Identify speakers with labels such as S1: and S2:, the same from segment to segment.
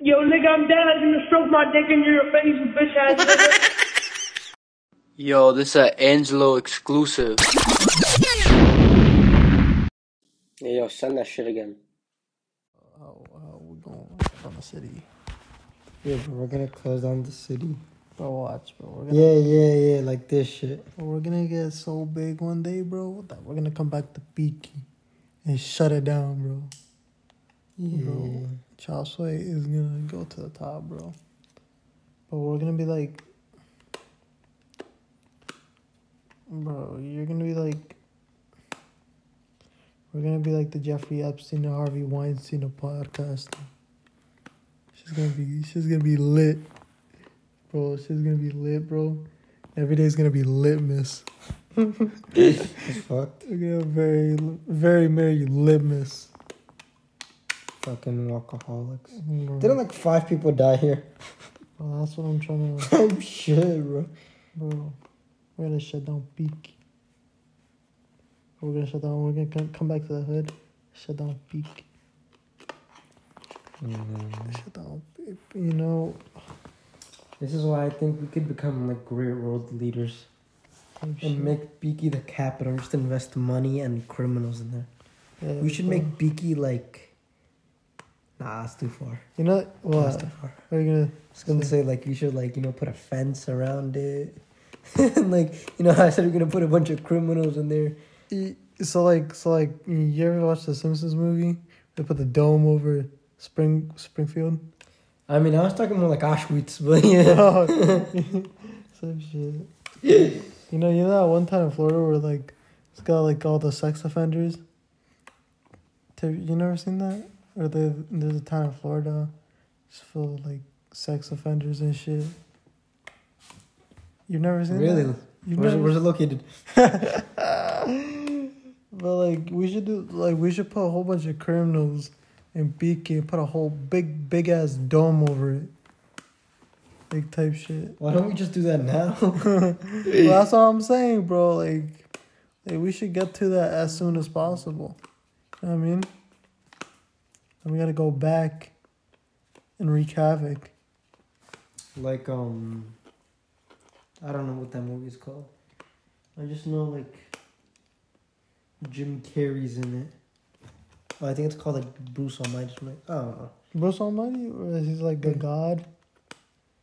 S1: Yo, nigga, I'm dead. I'm gonna stroke my dick in your face, you bitch ass nigga.
S2: Yo, this a Angelo exclusive.
S3: Yeah, yo, send that shit again.
S4: Oh, oh, we're going on the city. Yeah, bro, we're gonna close down the city. Bro, watch, bro. We're gonna,
S5: Yeah, yeah, yeah, like this shit.
S4: we're gonna get so big one day, bro, that we're gonna come back to Peaky and shut it down, bro. Bro, Chop Sway is gonna go to the top, bro. But we're gonna be like, bro, you're gonna be like, we're gonna be like the Jeffrey Epstein and Harvey Weinstein of podcasting. She's gonna be, she's gonna be lit, bro. She's gonna be lit, bro. Every day's gonna be lit, miss.
S5: It's fucked.
S4: We're gonna have very, very merry lit, miss.
S5: Fucking alcoholics. Didn't
S4: Bro,
S5: like five people die here?
S4: that's what I'm trying to.
S5: oh shit, bro.
S4: Bro, we're gonna shut down Peak. We're gonna shut down. We're gonna come, come back to the hood. Shut down Peak.
S5: Mm-hmm.
S4: Shut down. Peak, You know,
S5: This is why I think we could become like great world leaders
S4: type shit.
S5: and make Beaky the capital. Just invest money and criminals in there.
S4: Yeah,
S5: We should
S4: bro.
S5: make Beaky like. Nah, that's too far.
S4: You know
S5: That's
S4: what?
S5: too far.
S4: Are you gonna?
S5: I was gonna say like we should like you know put a fence around it, and like you know how I said we're gonna put a bunch of criminals in there.
S4: E- So like, so like, you ever watch the Simpsons movie? They put the dome over Spring Springfield.
S5: I mean, I was talking more like Auschwitz, but yeah. Oh.
S4: Some shit. You know, you know that one time in Florida where like it's got like all the sex offenders. Have you never seen that? Or they, there's a town in Florida, it's full of like sex offenders and shit. You've never seen that?
S5: Really?
S4: You've
S5: Where's, it-
S4: never-
S5: where's it located?
S4: but like we should do like we should put a whole bunch of criminals in Beaky and put a whole big big ass dome over it. Like type shit.
S5: Why don't we just do that now?
S4: Well, that's all I'm saying, bro. Like, like we should get to that as soon as possible. You know what I mean? And we gotta go back and wreak havoc.
S5: like um, I don't know what that movie is called. I just know like Jim Carrey's in it. Oh, I think it's called like Bruce Almighty. Something. I don't know.
S4: Bruce Almighty, or is he's like a god?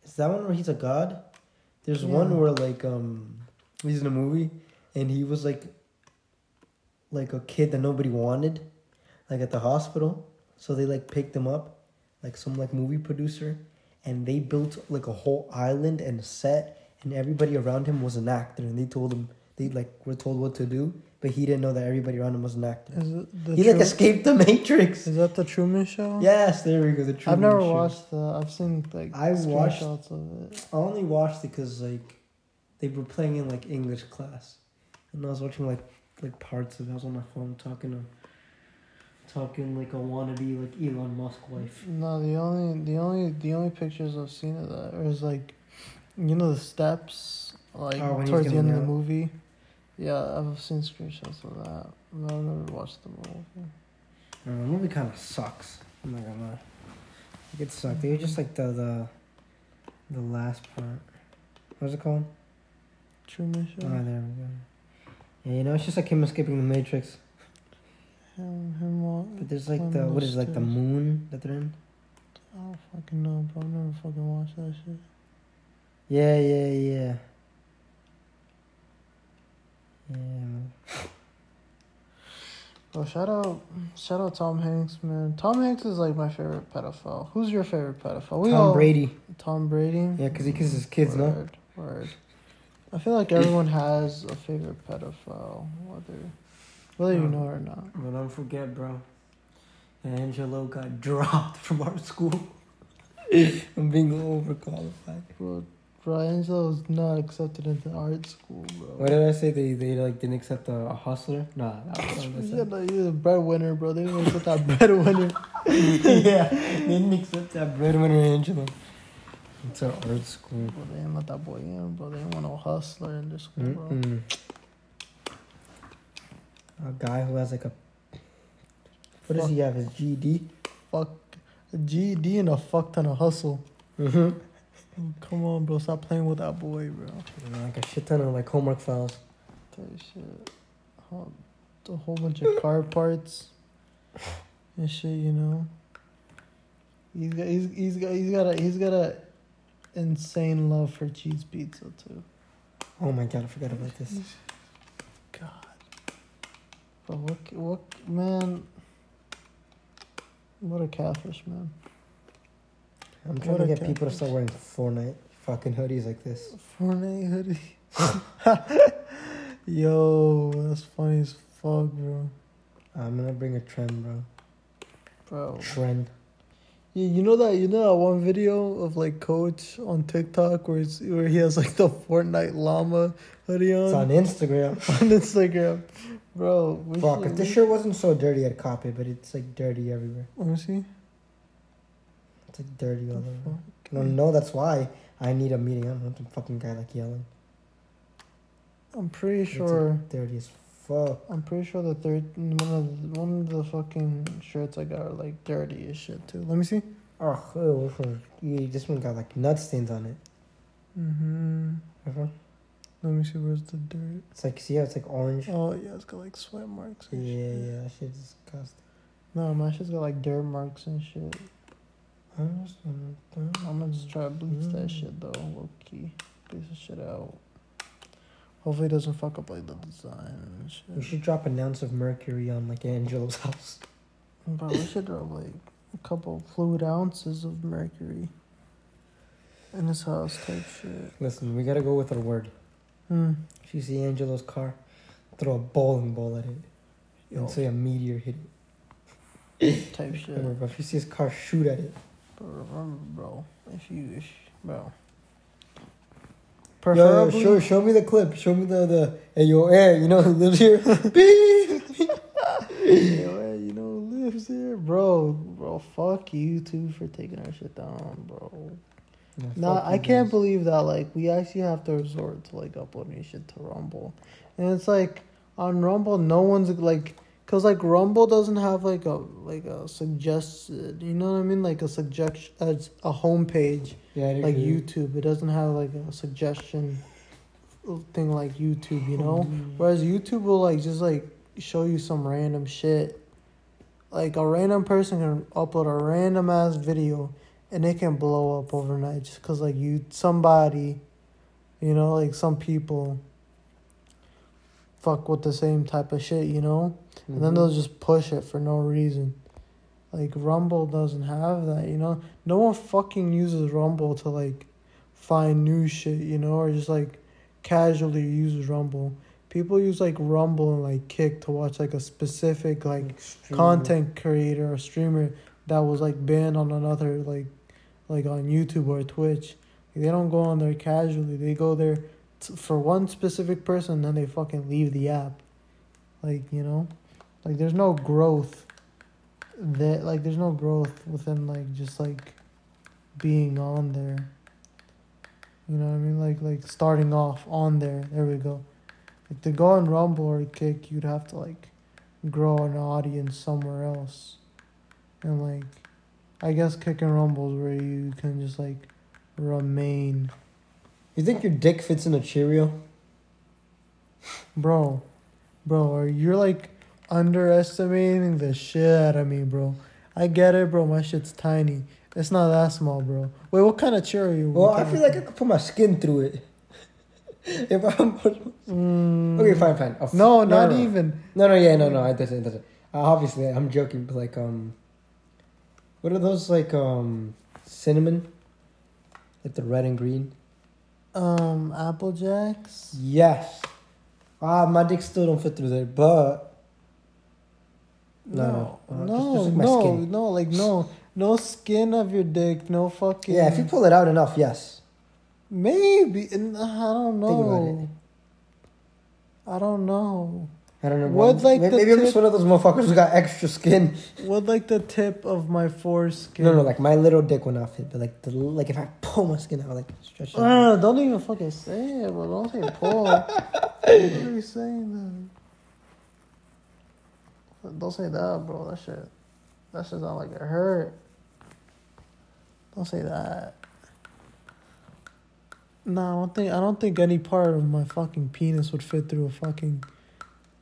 S5: Is that one where he's a god? There's
S4: Yeah.
S5: one where like um he's in a movie and he was like like a kid that nobody wanted, like at the hospital. So they like picked him up, like some like movie producer, and they built like a whole island and a set and everybody around him was an actor and they told him they like were told what to do, but he didn't know that everybody around him was an actor.
S4: Is it the
S5: He
S4: Tru-
S5: like escaped the Matrix.
S4: Is that the Truman Show?
S5: Yes, there we go. The true
S4: I've never
S5: Show.
S4: watched that. I've seen like
S5: I watched-
S4: screenshots of it.
S5: I only watched it because like they were playing in like English class, and I was watching like like parts of. it. I was on my phone talking to talking like a wannabe like Elon Musk wife.
S4: No, the only the only the only pictures I've seen of that is like, you know, the steps like
S5: Oh, when he's
S4: towards the end
S5: getting
S4: of the
S5: out.
S4: movie. Yeah, I've seen screenshots of that, but I've never watched the movie.
S5: I don't know, Uh, the movie kind of sucks. I'm not gonna lie, it gets sucked. They were just like the the the last part. What's it called?
S4: Truman Show.
S5: Ah, there we go. Yeah, you know, it's just like him escaping the Matrix.
S4: Him, him, wa-
S5: But there's like
S4: him
S5: the
S4: on
S5: what is it, like the
S4: stairs.
S5: moon that they're in.
S4: I don't fucking know, bro. I've never fucking watched that shit.
S5: Yeah, yeah, yeah. Yeah. man.
S4: Bro, shout out, shout out Tom Hanks, man. Tom Hanks is like my favorite pedophile. Who's your favorite pedophile?
S5: Tom Brady.
S4: Tom Brady.
S5: Yeah, 'cause he kisses kids, no?
S4: word, Word. I feel like everyone has a favorite pedophile, whether whether you
S5: Um,
S4: know or not.
S5: But don't forget, bro. Angelo got dropped from our school. I'm being overqualified.
S4: Bro, bro, Angelo was not accepted into art school, bro.
S5: What did I say? They they like didn't accept a, a hustler? Nah, that was what I
S4: Yeah,
S5: said.
S4: no, you're a breadwinner, bro. They didn't accept that breadwinner.
S5: yeah, they didn't accept that breadwinner Angelo. It's our art school.
S4: Bro, they didn't let that boy in, bro. They didn't want no hustler in their school, bro.
S5: Mm-mm. A guy who has like a what does he have? His GED?
S4: Fuck. A GED and a fuck ton of hustle.
S5: Mm-hmm.
S4: Come on, bro. Stop playing with that boy, bro.
S5: like a shit ton of like homework files.
S4: Type shit. Ho- A whole bunch of car parts and shit, you know. He's got, he's, he's got, he's got a, he's got a insane love for cheese pizza too.
S5: Oh my god, I forgot about this.
S4: God. But what, c- what, man. What a catfish, man.
S5: I'm trying
S4: What a
S5: to get people to
S4: catfish.
S5: start wearing Fortnite fucking hoodies like this.
S4: Fortnite hoodie. Yo, that's funny as fuck, bro.
S5: I'm gonna bring a trend, bro.
S4: Bro.
S5: Trend.
S4: You, you know that you know that one video of like Coach on TikTok where it's, where he has like the Fortnite llama hoodie on,
S5: It's on Instagram.
S4: on Instagram, bro. we
S5: Fuck,
S4: should-
S5: if this
S4: we-
S5: shirt wasn't so dirty, I'd copy it, but it's like dirty everywhere.
S4: Let me see.
S5: It's like dirty all
S4: The
S5: over.
S4: fuck?
S5: No, no, that's why I need a meeting. I don't want the fucking guy like yelling.
S4: I'm pretty
S5: It's, like,
S4: sure.
S5: dirty as fuck.
S4: I'm pretty sure the third one of the, one of the fucking shirts I got are like dirty as shit too. Let me see.
S5: Oh, ew, this one, yeah, this one got like nut stains on it.
S4: Mm-hmm.
S5: Uh-huh.
S4: Let me see. Where's the dirt?
S5: It's like, see how it's like orange?
S4: Oh yeah, it's got like sweat marks.
S5: Yeah,
S4: And Shit.
S5: yeah, that shit's disgusting.
S4: No, my shit's got like dirt marks and shit.
S5: I understand that.
S4: I'm gonna just try to bleach that
S5: Mm.
S4: shit though, low key. Bleach the shit out. Hopefully it doesn't fuck up like the design and
S5: We
S4: shit.
S5: should drop an ounce of mercury on like Angelo's house.
S4: Bro, we should drop like a couple fluid ounces of mercury in his house type shit.
S5: Listen, we gotta go with our word.
S4: Hmm.
S5: If you see Angelo's car, throw a bowling ball at it
S4: Yo,
S5: and say a meteor hit it.
S4: type shit.
S5: Remember, if you see his car, shoot at it.
S4: But remember, bro, if you, if, bro.
S5: Yo, yo,
S4: Preferably,
S5: show, show me the clip. Show me the the. Hey, yo, hey, you know who lives here? Beep.
S4: Yeah, well, you know who lives there, bro. Bro, fuck you too for taking our shit down, bro. No,
S5: Fuck
S4: I
S5: you
S4: can't
S5: guys.
S4: believe that. Like, we actually have to resort to like uploading shit to Rumble, and it's like on Rumble, no one's like, cause like Rumble doesn't have like a like a suggested, you know what I mean? Like a suggestion, a, a homepage
S5: Yeah, I
S4: like
S5: agree.
S4: YouTube. It doesn't have like a suggestion thing like YouTube, you know. Whereas YouTube will like just like show you some random shit. Like a random person can upload a random ass video and it can blow up overnight just cause like you somebody, you know, like some people fuck with the same type of shit, you know?
S5: Mm-hmm.
S4: And then they'll just push it for no reason. Like Rumble doesn't have that, you know. No one fucking uses Rumble to like find new shit, you know, or just like casually uses Rumble. People use like Rumble and like Kick to watch like a specific like
S5: Extreme.
S4: content creator or streamer that was like banned on another like like on YouTube or Twitch. Like, they don't go on there casually. They go there t- for one specific person and then they fucking leave the app. Like, you know? Like there's no growth that like there's no growth within like just like being on there. You know what I mean? Like like starting off on there. There we go. Like to go on Rumble or Kick, you'd have to like grow an audience somewhere else. And like I guess Kick and Rumble is where you can just like remain.
S5: You think your dick fits in a Cheerio?
S4: Bro, bro, are you're like underestimating the shit out of me, bro. I get it, bro. My shit's tiny. It's not that small, bro. Wait, what kind of chair are you?
S5: Well, I feel like I could put my skin through it. if I'm
S4: Mm,
S5: okay, fine, fine. Oh,
S4: No, not even.
S5: No, no, yeah, no, no. It doesn't. It doesn't. Uh, obviously, I'm joking. But like, um, what are those like, um, cinnamon? Like the red and green.
S4: Um, Apple Jacks.
S5: Yes. Ah, my dick still don't fit through there, but No,
S4: no,
S5: no, no,
S4: no,
S5: just- just like my
S4: no,
S5: skin.
S4: no, like no, no skin of your dick, no fucking.
S5: yeah, if you pull it out enough, yes.
S4: Maybe and I don't know.
S5: Think about
S4: I don't know.
S5: I don't know.
S4: What,
S5: man.
S4: like,
S5: May-
S4: the
S5: maybe I'm just
S4: tip-
S5: one of those motherfuckers who got extra skin.
S4: What like the tip of my foreskin?
S5: No, no, like my little dick would not fit, but like the like if I pull my skin out, like stretch it. out.
S4: Uh, don't even fucking say it, bro. Don't say pull. what are you saying that? Don't say that, bro. That shit. That shit sound like it hurt. Don't say that. Nah, I don't think I don't think any part of my fucking penis would fit through a fucking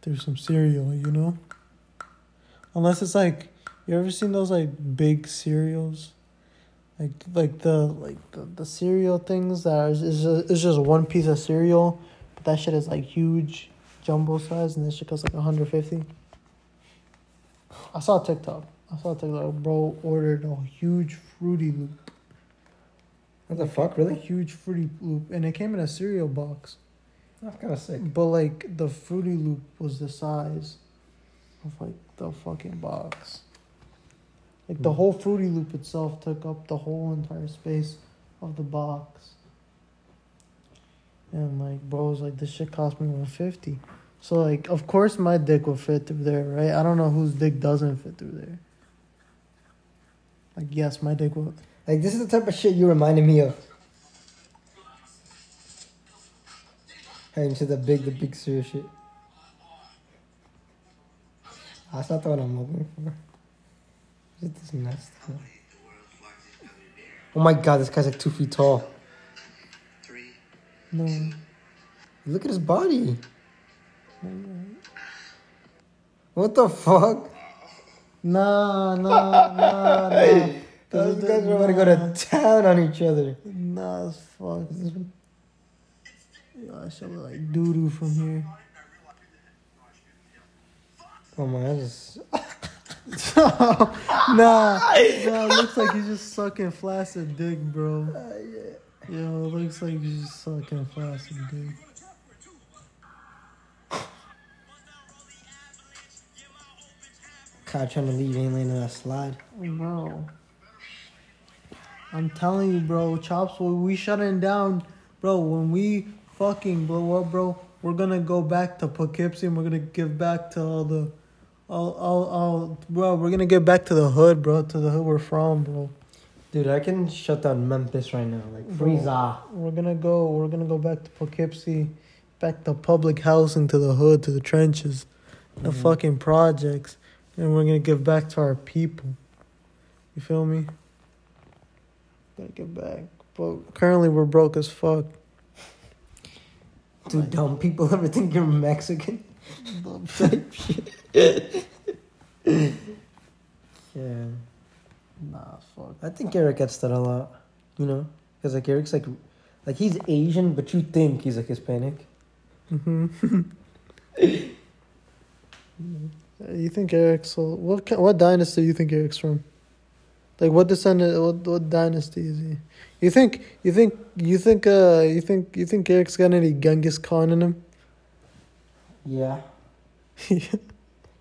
S4: through some cereal, you know? Unless it's like you ever seen those like big cereals? Like like the like the, the cereal things that are, is just, it's just one piece of cereal, but that shit is like huge, jumbo size, and this shit costs like 150. I saw a TikTok. I saw a TikTok. Bro ordered a huge fruity loop.
S5: What the fuck,
S4: A
S5: really?
S4: huge fruity loop. And it came in a cereal box.
S5: That's kind of sick.
S4: But like the fruity loop was the size of like the fucking box. Like the
S5: Hmm.
S4: whole fruity loop itself took up the whole entire space of the box. And like bro was like this shit cost me one fifty. So like of course my dick will fit through there, right? I don't know whose dick doesn't fit through there. Like yes, my dick will
S5: Like this is the type of shit you reminded me of. How you said the big, the big serious shit. That's Ah, not the one I'm looking for. Is it this nasty one? Oh my god, this guy's like two feet tall.
S4: no
S5: Look at his body. What the fuck?
S4: Nah nah nah nah.
S5: Those guys are about to go to town on each other.
S4: Nah, as fuck. Yo, that shit look like doo doo from here.
S5: Oh my, that's just.
S4: nah, nah, it looks like he's just sucking flaccid dick, bro. Yo, it looks like he's just sucking flaccid dick.
S5: Kyle trying to leave, ain't laying on that slide.
S4: Bro. I'm telling you, bro, chops, when we shutting down, bro, when we fucking blow up, bro, we're gonna go back to Poughkeepsie and we're gonna give back to all the. All, all, all, bro, we're gonna get back to the hood, bro, to the hood we're from, bro.
S5: Dude, I can shut down Memphis right now. Like,
S4: Bro.
S5: Frieza.
S4: We're gonna go. We're gonna go back to Poughkeepsie, back to public housing, to the hood, to the trenches, the fucking projects, and we're gonna give back to our people. You feel me? Gonna give back, but currently we're broke as fuck.
S5: Dude, dumb people ever think you're Mexican? Type shit. yeah.
S4: Nah, fuck.
S5: I think Eric gets that a lot. You know? Because, like, Eric's like. Like, he's Asian, but you think he's like Hispanic.
S4: hmm you think Eric's so? What ki- what dynasty you think Eric's from? Like what descendant? What what dynasty is he? You think you think you think uh you think you think Eric's got any Genghis Khan in him?
S5: Yeah.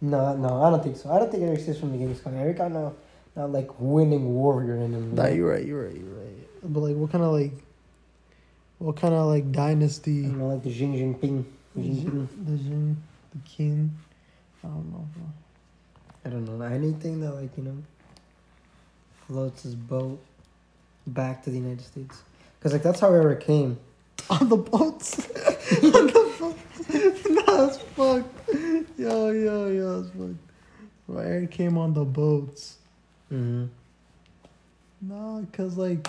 S5: No, no, I don't think so. I don't think Eric's just from the Genghis Khan. Eric got no, not like winning warrior in him.
S4: nah, you're right. You're right. You're right. But like, what kind of like, what kind of like
S5: I
S4: dynasty?
S5: don't know, like the Xing Jinping. Jinping.
S4: The Jin, the Qin. I don't know. bro.
S5: I don't know anything that like you know floats his boat back to the United States because like that's how Eric came.
S4: On the boats. On the boats. nah, it's fucked. Yo, yo, yo, it's fucked. Bro, Eric came on the boats.
S5: Mm-hmm.
S4: Nah, cause like,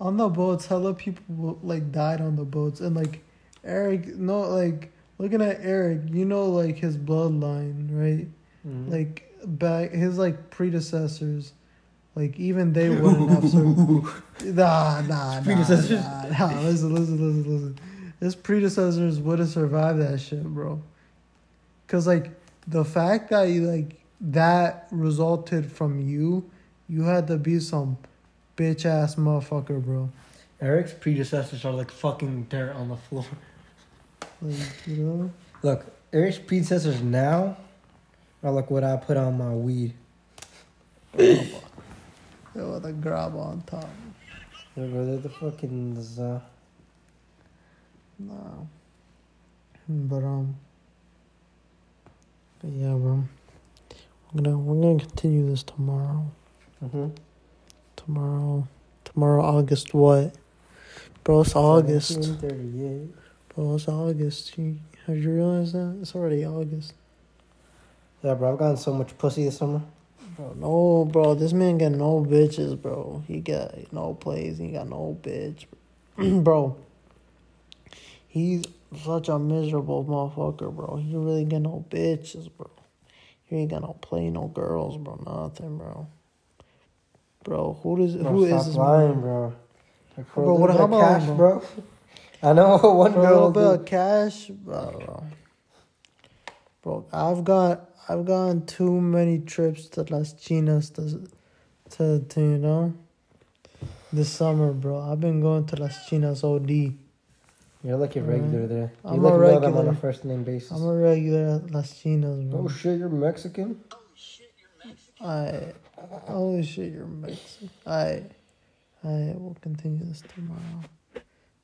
S4: on the boats, hella people like died on the boats, and like, Eric, no, like looking at Eric, you know, like his bloodline, right?
S5: Mm-hmm.
S4: Like back his like predecessors, like even they wouldn't have survived. Nah, nah, nah,
S5: Predecessors.
S4: nah, nah. Listen, listen, listen, listen. His predecessors would have survived that shit, bro. Cause like the fact that you like that resulted from you, you had to be some bitch ass motherfucker, bro.
S5: Eric's predecessors are like fucking dirt on the floor.
S4: Like you know,
S5: Look, Eric's predecessors now are like what I put on my weed.
S4: Yo, with a grab on top.
S5: Yeah, bro, they're the fucking. Uh,
S4: Nah. But um. But yeah, bro. We're gonna we're gonna continue this tomorrow.
S5: mm-hmm.
S4: Tomorrow, tomorrow, August what? Bro, it's August. Bro, it's August. You, have you realized that? It's already August.
S5: Yeah, bro, I've gotten so much pussy this summer.
S6: Bro, no, bro, this man got no bitches, bro. He got no plays. He got no bitch, bro. He's such a miserable motherfucker, bro. He really got no bitches, bro. He ain't got no play, no girls, bro. Nothing, bro. Bro, who does
S5: Bro,
S6: who
S5: stop
S6: is this
S5: lying,
S6: man?
S5: bro?
S6: Bro, what-
S5: little
S6: how
S5: bit of
S6: about
S5: cash,
S6: him,
S5: bro? I know one
S6: For a little
S5: girl.
S6: bit of cash, bro. Bro, I've got I've gone too many trips to Las Chinas to, to, to you know. This summer, bro, I've been going to Las Chinas OD.
S5: You're like a
S6: Mhm.
S5: regular there. You
S6: I'm
S5: like
S6: a
S5: know them on
S6: regular.
S5: a first name basis.
S6: I'm a regular at Las Chinas, bro.
S5: Oh shit, you're Mexican.
S6: I holy shit, you're Mexican. I I will continue this tomorrow.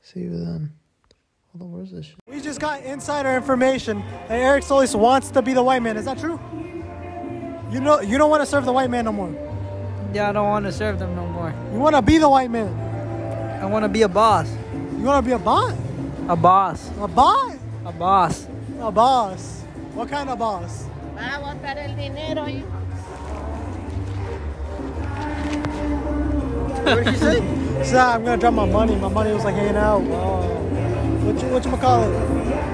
S6: See you then. Hold on, where's this shit?
S4: We just got insider information that Eric Solis wants to be the white man. Is that true? You know, you don't want to serve the white man no more.
S7: Yeah, I don't want to serve them no more.
S4: You want to be the white man.
S7: I want to be a boss.
S4: You want to be a bot,
S7: A boss.
S4: a bot,
S7: A boss.
S4: a boss. What kind of boss?
S8: Va Ah, a botar el dinero, ¿eh? hijo.
S4: So I'm gonna drop my money. My money was like hanging out. Wow. What you what you call it?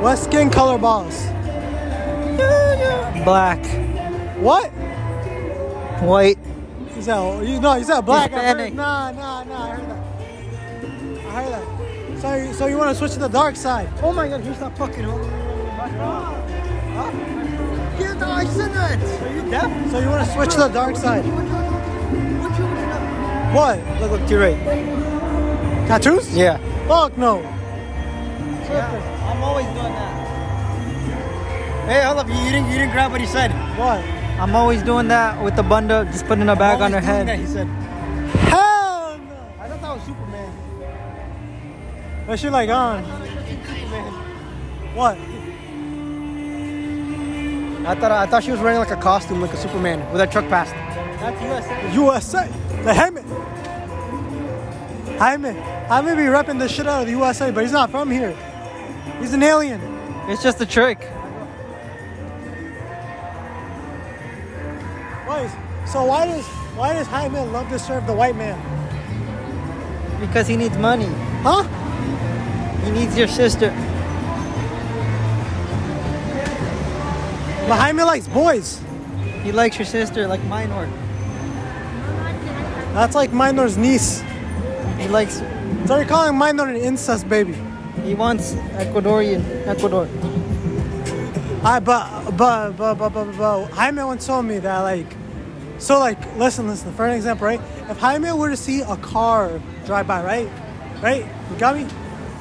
S4: What skin color boss?
S7: Black.
S4: What?
S7: White.
S4: He said, you know, he said black. I heard-
S7: Hispanic.
S4: Nah, nah, nah. I heard that. I heard that. So, you- so you want to switch to the dark side? Oh my God, he's not fucking up.
S7: Yeah, no, I said that.
S4: Are you deaf? So you want to switch to the dark side? What?
S7: Look, look, to your right.
S4: Tattoos?
S7: Yeah.
S4: Fuck no.
S7: I'm always doing that. Hey, hold up. You, you didn't, you didn't grab what he said.
S4: What?
S7: I'm always doing that with the bundle, just putting a bag on her head.
S4: he said. Hell no. I thought that was Superman. That shit like on. What?
S7: I thought I thought she was wearing like a costume, like a Superman, with a truck past. That's USA.
S4: USA. The Heyman. Hyman. Hyman be repping the shit out of the USA, but he's not from here. He's an alien.
S7: It's just a trick.
S4: Why is- So why does why does Hyman love to serve the white man?
S7: Because he needs money.
S4: Huh?
S7: He needs your sister.
S4: But Hyman likes boys.
S7: He likes your sister, like mine or
S4: That's like Minor's niece.
S7: he likes.
S4: So you're calling Minor an incest baby.
S7: He wants Ecuadorian Ecuador.
S4: I but but but but but, but Jaime once told me that like so like listen listen for an example right if Jaime were to see a car drive by right right you got me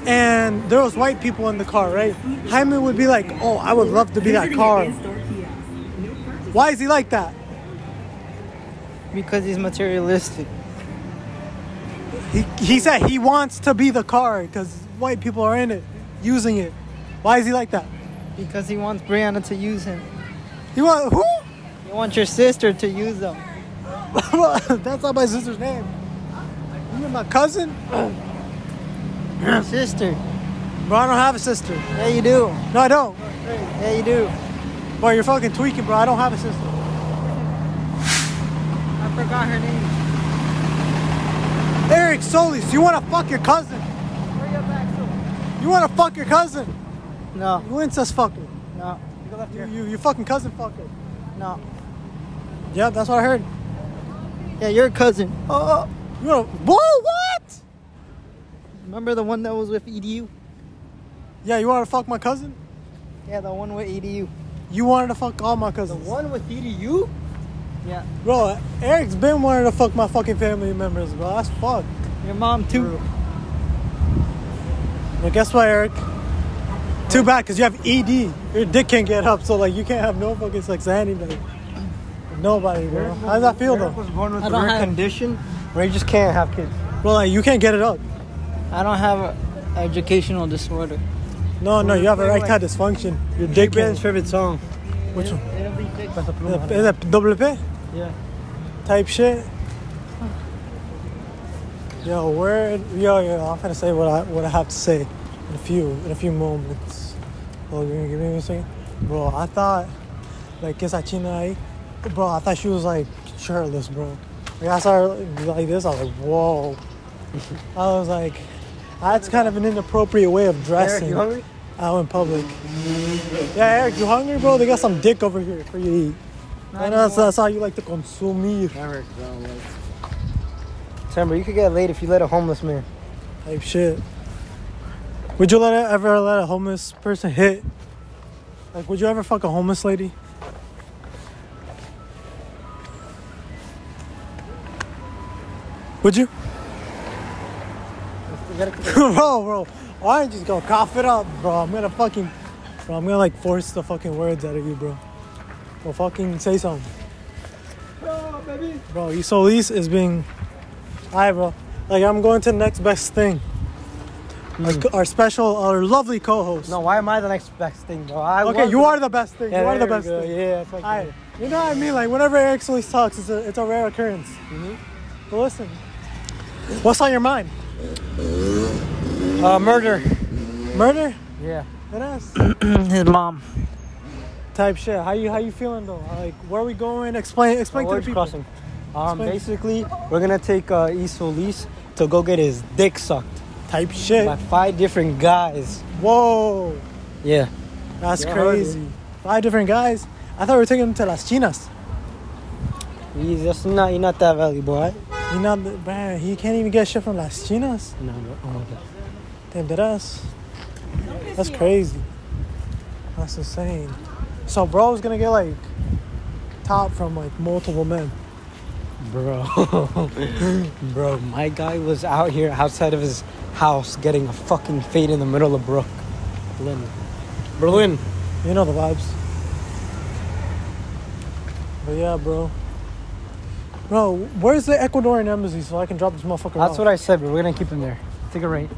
S4: and there was white people in the car right Jaime would be like oh I would love to be that car why is he like that
S7: Because he's materialistic.
S4: he, he said he wants to be the car because white people are in it using it why is he like that
S7: Because he wants Brianna to use him.
S4: he want who
S7: He wants your sister to use him.
S4: Well, That's not my sister's name. You mean my cousin?
S7: sister.
S4: Bro, I don't have a sister.
S7: Yeah, you do.
S4: No, I don't.
S7: Yeah, you do.
S4: Bro, you're fucking tweaking, bro. I don't have a sister.
S7: I forgot her name.
S4: Eric Solis, you wanna fuck your cousin? You wanna fuck your cousin?
S7: No,
S4: You incest fucker.
S7: no,
S4: You, you, you fucking cousin fucker.
S7: no.
S4: Yeah, that's what I heard.
S7: Yeah, your cousin. Oh, oh.
S4: You wanna. Whoa, what?
S7: remember the one that was with E EDU?
S4: Yeah, you wanna fuck my cousin?
S7: Yeah, the one with E EDU.
S4: You wanted to fuck all my cousins.
S7: One with
S5: E
S7: EDU? Yeah.
S4: Bro, Eric's been wanting to fuck my fucking family members, bro. That's fucked.
S7: Your mom too.
S4: Well, guess what, Eric? Too bad, cause you have ED. Your dick can't get up, so like you can't have no fucking sex to anybody. Nobody, bro. How does that feel though?
S7: born with a rare condition where you just can't have kids.
S4: Bro, like you can't get it up.
S7: I don't have a educational disorder.
S4: No, no, you have erectile dysfunction. Your dick can't.
S7: favorite song.
S4: Which one?
S7: It'll be Jake
S4: Is that- is that double P?
S7: Yeah.
S4: Type shit. Yo, where? Yo, yo, I'm gonna say what I what I have to say in a few in a few moments. Oh, you gonna give me a second, bro? I thought like esa china ahí, bro. I thought she was like shirtless, bro. Like I saw her like, like this, I was like, whoa. I was like, that's kind of an inappropriate way of
S5: Eric,
S4: dressing
S5: you hungry?
S4: out in public. Yeah, Eric, you hungry, bro? They got some dick over here for you to eat. I know that's, that's how you like to consume
S5: Eric, bro. Timber, you could get laid if you let a homeless man.
S4: type shit. Would you let a, ever let a homeless person hit? Like, would you ever fuck a homeless lady? Would you? bro, bro, why don't you just go cough it up, bro? I'm gonna fucking, bro, I'm gonna like force the fucking words out of you, bro. Well, fucking say something. Bro, baby. Bro, Isolis is being, hi, bro. Like I'm going to the next best thing. Our, co- our special, our lovely co-host.
S5: Hmm. No, why am I the next best thing, bro? I
S4: Okay,
S5: was
S4: you are the best thing. you are the
S5: there we
S4: best
S5: go.
S4: thing.
S5: Yeah, it's like
S4: I, you know what I mean? Like whenever Eric Solis talks, it's a, it's a rare occurrence.
S5: Mm-hmm.
S4: But listen, what's on your mind?
S5: uh, murder.
S4: Murder?
S5: Yeah,
S4: It is.
S5: his mom.
S4: Type shit. How you how you feeling though? Like where are we going? Explain explain to the
S5: Words
S4: people.
S5: crossing. Um,
S4: Explain.
S5: basically, we're gonna take uh, Isolis to go get his dick sucked
S4: Type shit.
S5: by five different guys.
S4: Whoa,
S5: Yeah.
S4: that's
S5: Yeah, I heard
S4: crazy. Five different guys. I thought we were taking them to Las Chinas.
S5: He's just not, you're not that valuable, right?
S4: You know, man, he can't even get shit from Las Chinas.
S5: No, no. Oh my god.
S4: Damn, that ass. That's crazy. That's insane. So, bro's gonna get like top from like multiple men.
S5: Bro, bro, my guy was out here outside of his house getting a fucking fade in the middle of Brook. Berlin. Berlin.
S4: You know the vibes. But yeah, bro. Bro, where's the Ecuadorian embassy so I can drop this motherfucker
S5: That's
S4: off?
S5: what I said, but we're gonna keep him there. Take a rate.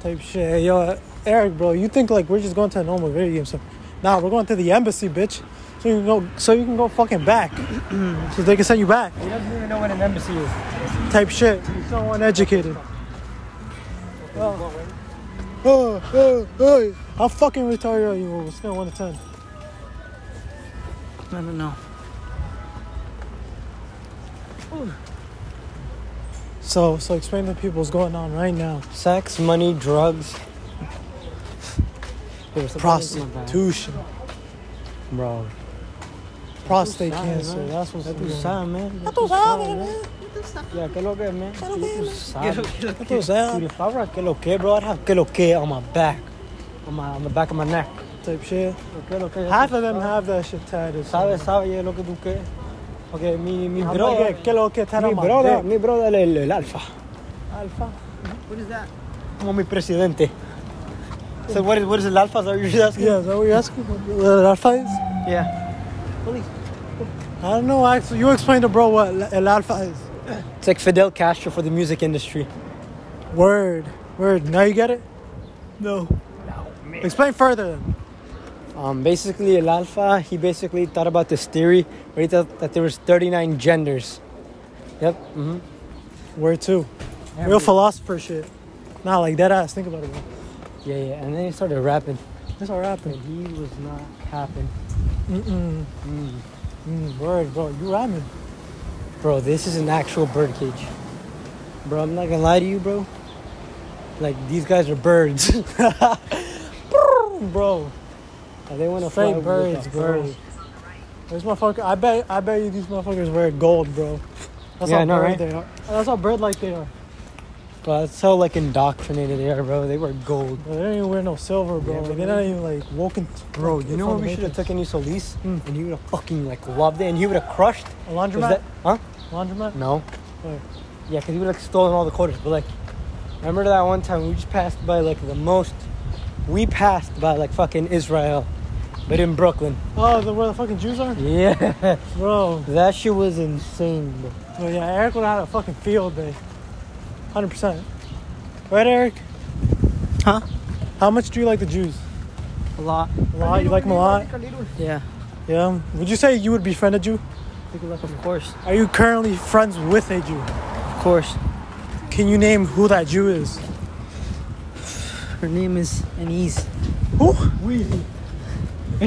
S4: type shit. Hey, yo, Eric, bro, you think like we're just going to a normal video game store? Nah, we're going to the embassy, bitch. So you can go. So you can go fucking back. so they can send you back.
S5: He doesn't even know what an embassy is.
S4: type shit. He's so uneducated. Oh, oh, oh. How fucking retarded are you? We're still 1 to 10.
S5: I don't know.
S4: So, so explain to people what's going on right now.
S5: Sex, money, drugs. There's something in my bag.
S4: Prostitution.
S5: Bro.
S4: Prostate cancer. That's what's
S5: Ya
S4: going
S5: tú
S4: on.
S5: sabes, man. Ya
S4: Tú
S5: tú
S4: sabes,
S5: sabes,
S4: man.
S5: Ya que lo que, man. Ya tú sabes.
S4: Tú
S5: Dude,
S4: sabes.
S5: if I were a que lo que, bro, I'd have que lo que on my back. On my on the back of my neck.
S4: Type shit.
S5: Que lo que, ya
S4: Half
S5: tú
S4: of them
S5: sabes.
S4: have that shit tatted.
S5: Sabe, sabe, ya lo que tú qué. Okay, mi, mi
S4: I'm
S5: bro.
S4: like, yeah, que lo que tatted
S5: mi
S4: on my
S5: brother,
S4: dick.
S5: mi brother, el, el alfa.
S4: Alpha.
S9: What is that?
S5: Como mi presidente. So what is, what is el alfa? Is that what you're asking?
S4: Yeah, is that what you're asking? What uh, alpha is?
S5: Yeah.
S4: I don't know. Actually, you explain to bro what el alpha is.
S5: It's like Fidel Castro for the music industry.
S4: Word, word. Now you get it? No. Explain further. Then.
S5: Um, basically, El Alfa, he basically thought about this theory where he thought that there was 39 genders. Yep. hmm
S4: Where to? Real philosopher shit. Not like that ass. Think about it. Bro.
S5: Yeah, yeah. And then he started rapping.
S4: This all rapping.
S5: he was not happy.
S4: Mm-mm. Mm, word, bro. You rapping.
S5: Bro, this is an actual bird cage. Bro, I'm not gonna lie to you, bro. Like, these guys are birds. bro. They want to
S4: Straight
S5: fly
S4: birds, bro. This motherfucker. I bet. I bet you these motherfuckers wear gold, bro. That's
S5: Yeah,
S4: how
S5: I know,
S4: bird
S5: right?
S4: they are. That's how bird like they are.
S5: But that's how, like, indoctrinated they are, bro. They wear gold.
S4: Bro, they don't even wear no silver, bro.
S5: Yeah,
S4: like,
S5: but
S4: they're not even like walking.
S5: Bro, you know what we should have taken you Solis? And he would have fucking, like, loved it. And he would have crushed.
S4: A
S5: 'Cause
S4: laundromat.
S5: that- huh?
S4: Laundromat.
S5: No.
S4: Where?
S5: Yeah, because he would like stolen all the quarters. But like, remember that one time we just passed by like the most. We passed by like fucking Israel, but in Brooklyn.
S4: Oh, the, where the fucking Jews are,
S5: Yeah,
S4: bro.
S5: that shit was insane. Bro.
S4: Oh yeah, Eric would have had a fucking field day. 100%. Right, Eric?
S5: Huh?
S4: How much do you like the Jews?
S5: A lot.
S4: A lot? You like them a lot?
S5: Yeah.
S4: Yeah. Would you say you would befriend a Jew?
S5: Of course.
S4: Are you currently friends with a Jew?
S5: Of course.
S4: Can you name who that Jew is?
S7: Her name is Anise.
S4: Who?
S7: Her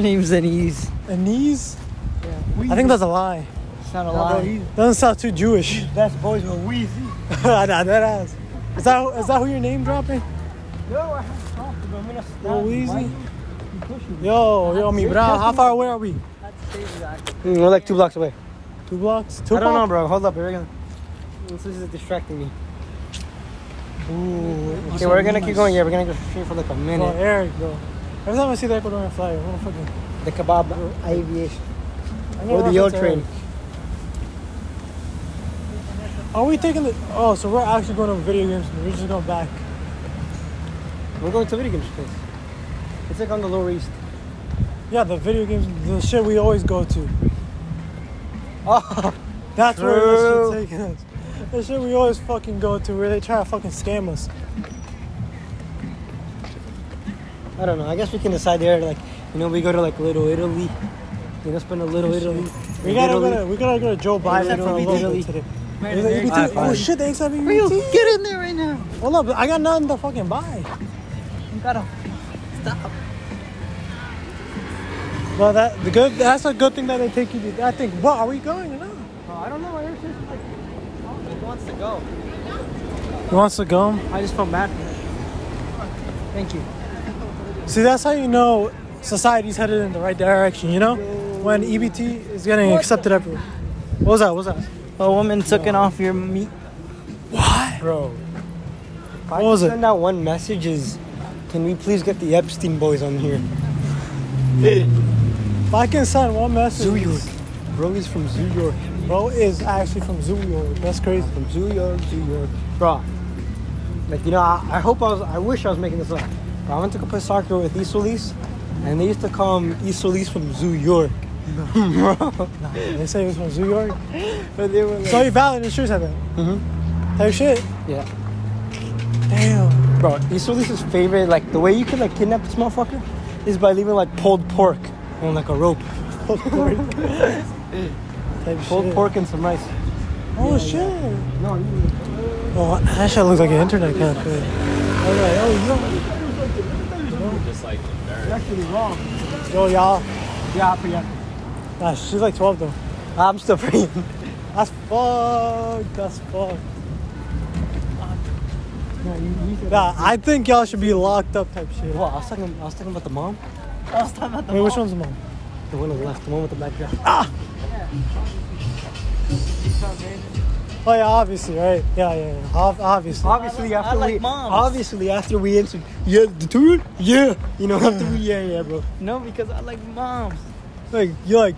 S7: name's Anise.
S4: Anise? I think that's a lie.
S7: It's not a
S5: Bro,
S7: lie.
S5: he's
S4: Doesn't sound too Jewish.
S5: best boys with Wheezy.
S4: nah, that ass. Is that is that who your name dropping?
S5: No, I have talked to him. I'm gonna stab
S4: Yo,
S5: you,
S4: Wheezy.
S5: Mike. You pushing me.
S4: Yo, yo, mi bra. How far away are we?
S5: That's crazy, actually. We're like two blocks away.
S4: Two blocks. Two
S5: I don't know,
S4: blocks.
S5: bro. Hold up. We're gonna. This is distracting me.
S4: Ooh, what's
S5: Okay, we're
S4: that
S5: gonna
S4: mean?
S5: keep going. Yeah, we're gonna go straight for like a
S4: Bro,
S5: minute.
S4: Oh, Eric, bro. Every time I see the Ecuadorian flag, I'm gonna fucking.
S5: The kebab aviation.
S4: I'm gonna
S5: Or the
S4: reference
S5: Yale
S4: to
S5: train.
S4: Eric. Are we taking the? Oh, so we're actually going to video games. We're just going back.
S5: We're going to video games place. It's like on the Lower East.
S4: Yeah, the video games, the shit we always go to. That's where
S5: Oh.
S4: this
S5: True.
S4: shit's taking us. The shit we always fucking go to, where they try to fucking scam us.
S5: I don't know. I guess we can decide there. Like, you know, we go to like Little Italy. We gonna spend a Little Italy.
S4: We gotta
S5: Little
S4: go to, we gotta go to Joe Biden
S5: Except for
S4: on a
S5: BT.
S4: little bit today. Is it EBT?
S5: Alright,
S4: Oh
S5: fine.
S4: shit, they E accept
S7: Real,
S4: EBT.
S7: get in there right now.
S4: Hold up, I got nothing to fucking buy.
S7: You gotta stop.
S4: Well, that the good. That's a good thing that they take you. To, I think. What are we going or not?
S5: Oh, I don't know. Eric says, like, he wants to go.
S4: He wants to go.
S5: I just felt bad for him. Thank you.
S4: See, that's how you know society's headed in the right direction. You know, when EBT is getting accepted everywhere. What was that? What was that?
S7: A woman took it off your meat.
S5: Bro. If I
S4: What was
S5: could
S4: it?
S5: send out one message is, can we please get the Epstein boys on here?
S4: If I can send one message,
S5: Zoo York. Bro is from Zoo York.
S4: bro is actually from Zoo York. That's crazy.
S5: From Zoo York, Zoo York. Bro. Like, you know, I, I hope I was, I wish I was making this up. But I went to go play soccer with Isolis, and they used to call him Isolis from Zoo York. Bro.
S4: They say he's from Zoo York.
S5: But they were like,
S4: So you valid insurance have it. Mm-hmm. Type shit.
S5: yeah.
S4: Damn.
S5: Bro, Isolis's favorite, like, the way you could, like, kidnap this motherfucker is by leaving, like, pulled pork on, like, a rope.
S4: Pulled pork. Type
S5: Pulled
S4: shit.
S5: pork and some rice.
S4: Oh shit. Oh, that shit looks like an internet cafe. Alright, oh,
S5: actually wrong.
S4: yo. Yo, y'all.
S5: Yeah, yeah.
S4: Nah, she's like 12 though.
S5: I'm still free.
S4: That's fucked. That's fucked. Nah, I think y'all should be locked up type shit.
S5: Well, I was talking. I was talking about the mom,
S4: Wait, which one's mom? Ah!
S5: the one on the left, the one with the black dress.
S4: Oh yeah, obviously, right? Yeah, yeah, yeah. Ob- obviously.
S5: Obviously, after
S7: like
S5: we,
S7: moms.
S5: obviously after we answered, yeah, the tour, yeah, you know, after we, yeah, yeah, bro.
S7: No, because I like moms.
S4: Like, you're like,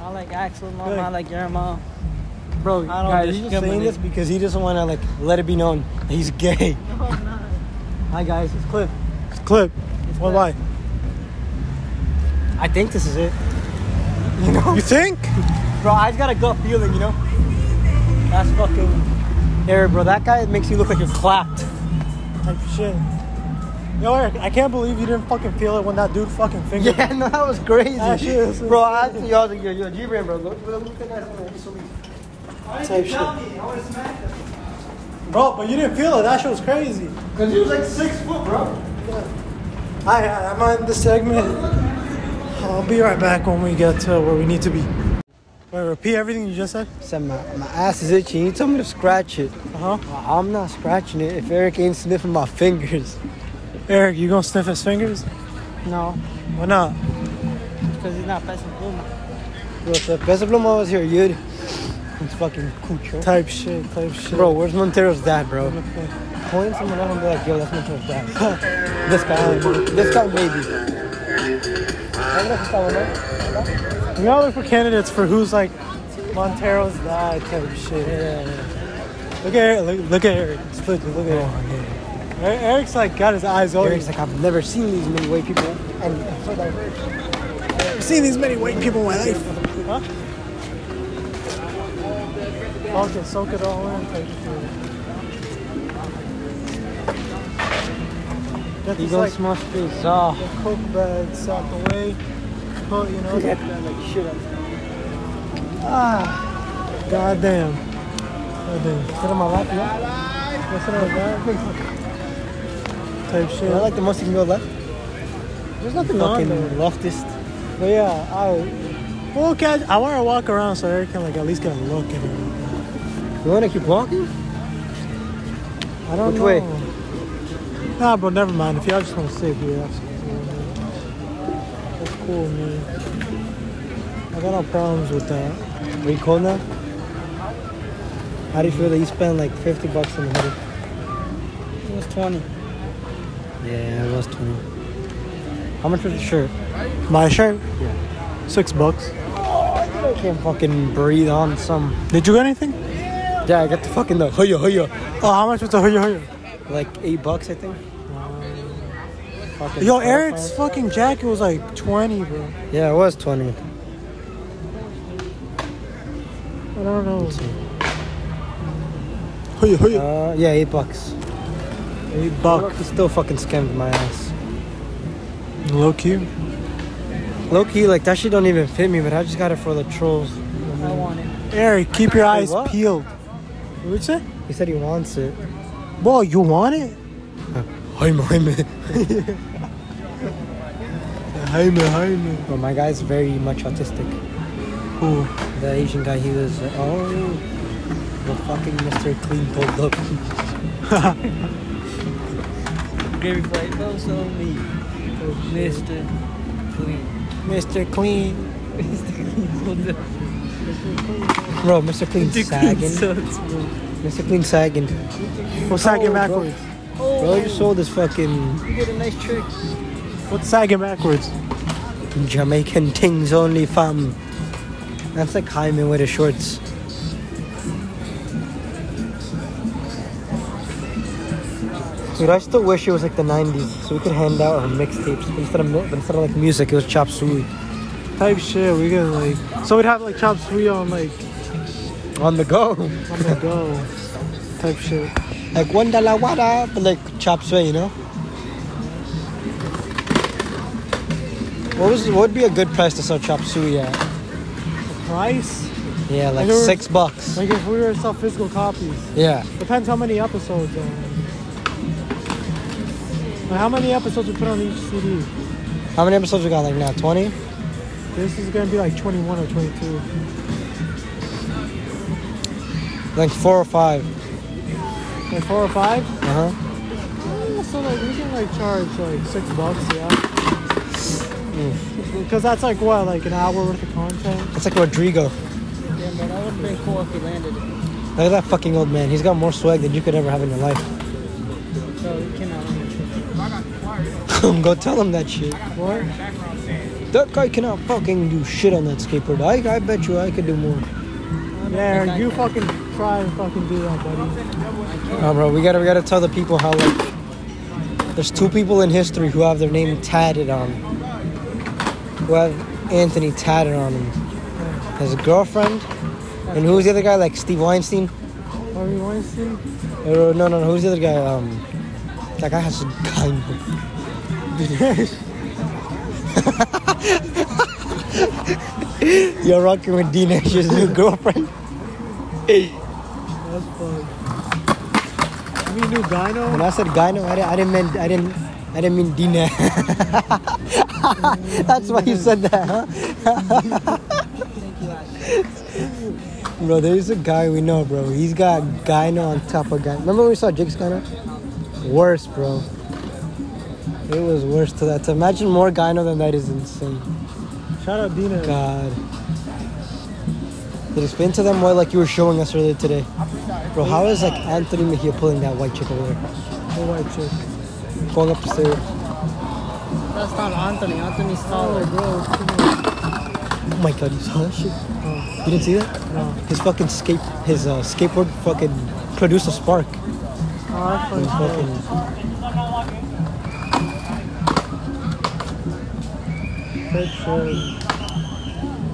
S7: I like Axel's mom.
S4: Good.
S7: I like your mom.
S5: Bro,
S7: I don't
S5: guys, he's just
S7: discriminate.
S5: saying this because he doesn't want to like let it be known that he's gay. No, I'm not. Hi guys, it's Cliff.
S4: clip. What lie?
S5: I think this is it.
S4: You think?
S5: Bro, I just got a gut feeling, you know. That's fucking. Eric, bro, that guy makes you look like you're clapped.
S4: Type shit. Yo, Eric, I can't believe you didn't fucking feel it when that dude fucking fingered.
S5: Yeah, no, that was crazy.
S4: That shit was-
S5: bro, I think y'all think you're, you're a G-Brain, bro. Look, look at that guy on the East
S4: Type shit. Bro, but you didn't feel it. That shit was crazy.
S5: Because he was like six foot, bro.
S4: Hi, I'm on the segment. I'll be right back when we get to where we need to be. Wait, repeat everything you just said.
S5: Said my, my ass is itching. You told me to scratch it.
S4: Uh huh.
S5: I- I'm not scratching it if Eric ain't sniffing my fingers.
S4: Eric, you gonna sniff his fingers?
S7: No,
S4: Why not?
S7: because he's not passing blue.
S5: Bro, if the best of them all was here, you'd. It's fucking cucho.
S4: Type shit. Type shit.
S5: Bro, where's Montero's dad, bro? Point someone out and be like, yo, that's Montero's dad. this guy, this guy, maybe.
S4: we gotta look for candidates for who's like Montero's dad type shit. Yeah, Look at Eric. Look, look at Eric. Split. Look at Eric. Eric. Eric's like got his eyes open.
S5: Eric's like, I've never seen these many white people. And it's so diverse.
S4: I've seen these many white people in my life. Huh? Okay, soak it all in. Take it through. Get
S5: He
S4: these
S5: goes
S4: like
S5: small space. Oh.
S4: the coke bags out the way. Put, you know. Ah, goddamn. Goddamn. Sit on my lap, yeah? Sit on my lap. Type shit.
S5: I like the most you can go left.
S4: There's nothing on
S5: Fucking
S4: there.
S5: leftist.
S4: But yeah, I We'll catch. I want to walk around so Eric can like at least get a look at it.
S5: You wanna keep walking?
S4: I don't
S5: Which
S4: know.
S5: way?
S4: Nah, bro. Never mind. If y'all just want to sit here, that's cool. That's cool, man. I got no problems with that.
S5: Are you cold now? How do you feel that you spent like 50 bucks on the hoodie?
S7: It was 20.
S5: Yeah, it was 20. How much was the shirt?
S4: My shirt. Six bucks.
S5: I can't fucking breathe on some.
S4: Did you get anything?
S5: Yeah, I got the fucking the hoya hoya.
S4: Oh, how much was the hoodie? hoodie?
S5: Like eight bucks, I think. Fucking
S4: Yo,
S5: Spotify.
S4: Eric's fucking jacket was like twenty, bro.
S5: Yeah, it was 20.
S4: I don't know. Hoodie, hoodie.
S5: Uh, yeah, eight bucks.
S4: Uh, Eight
S5: Fuck.
S4: bucks.
S5: He still fucking scammed my ass.
S4: Low key.
S5: Low key, like that shit don't even fit me, but I just got it for the trolls.
S7: I want it.
S4: Eric, keep your eyes
S5: what?
S4: peeled. What would you say?
S5: He said he wants it.
S4: Boy, you want it?
S5: Hi, man.
S4: Hey man, hey man.
S5: But my guy's very much autistic.
S4: Who?
S5: The Asian guy, he was uh, oh, the fucking Mr. Clean pulled up.
S7: Gravy plate. Oh, so me. Mr. Clean.
S5: Mr. Clean,
S7: Mr.
S5: bro, Mr. Clean
S7: Clean.
S5: sagging.
S7: sucks, bro.
S5: Mr. Clean sagging.
S4: What's sagging
S7: Oh,
S4: backwards?
S5: Bro, you sold this fucking
S7: You did a nice trick.
S4: What's sagging backwards?
S5: Jamaican things only, fam. That's like Hyman with his shorts. Dude, I still wish it was like the 90s, so we could hand out our mixtapes. But instead of, mi- but instead of like music, it was chop suey.
S4: Type shit. We can like. So we'd have like chop suey on like
S5: On the go.
S4: on the go. Type shit.
S5: Like one dollar wada, but like chop suey, you know? What was what would be a good price to sell chop suey at?
S4: Price?
S5: Yeah, like
S4: there was-
S5: six bucks.
S4: Like if we were to sell physical copies.
S5: Yeah.
S4: Depends how many episodes. Are. Like how many episodes we put on each CD?
S5: How many episodes we got like now? Twenty?
S4: This is gonna be like 21 or 22.
S5: Like four or five.
S4: Like four or five.
S5: Uh huh.
S4: Yeah, so like we can like charge like six bucks, yeah.
S7: Mm.
S4: Because that's like what, like an hour worth of content.
S5: That's like Rodrigo.
S7: Damn, bro, that would've been cool if he landed it.
S5: Look at that fucking old man. He's got more swag than you could ever have in your life.
S7: Bro, you cannot land a trick.
S5: Go tell him that shit. What? That guy cannot fucking do shit on that skateboard. I, I bet you I could do more.
S4: Yeah,
S7: think I
S4: you
S7: can.
S4: fucking try and fucking do that, buddy.
S5: Oh, bro, we gotta we gotta tell the people how like there's two people in history who have their name tatted on, who have Anthony tatted on him. His girlfriend, and who's the other guy? Like Steve Weinstein?
S4: Harvey Weinstein?
S5: Or, no, no, no. Who's the other guy? Um, that guy has a gun. You're rocking with Dinesh's new girlfriend.
S4: That's fucked. You mean new
S5: When
S4: Dino?
S5: I said gyno, I didn't, I didn't mean I didn't I didn't mean Dina. That's why you said that, huh? bro, there's a guy we know, bro. He's got gyno on top of gyno. Remember when we saw Jake's gyno? Worse, bro. It was worse to that. To imagine more gyno than that is insane.
S4: Shout out Dino.
S5: God. Did explain to them why, like you were showing us earlier today, bro? How is like Anthony Mejia pulling that white chick over there?
S4: The white chick.
S5: going up the stairs.
S7: That's not Anthony. Anthony's taller.
S5: Oh my god, you saw that shit? You didn't see that?
S4: No.
S5: His fucking skate, his uh, skateboard fucking produced a spark.
S4: Oh, that's
S5: He
S4: fucking
S5: fucking,
S4: good shit.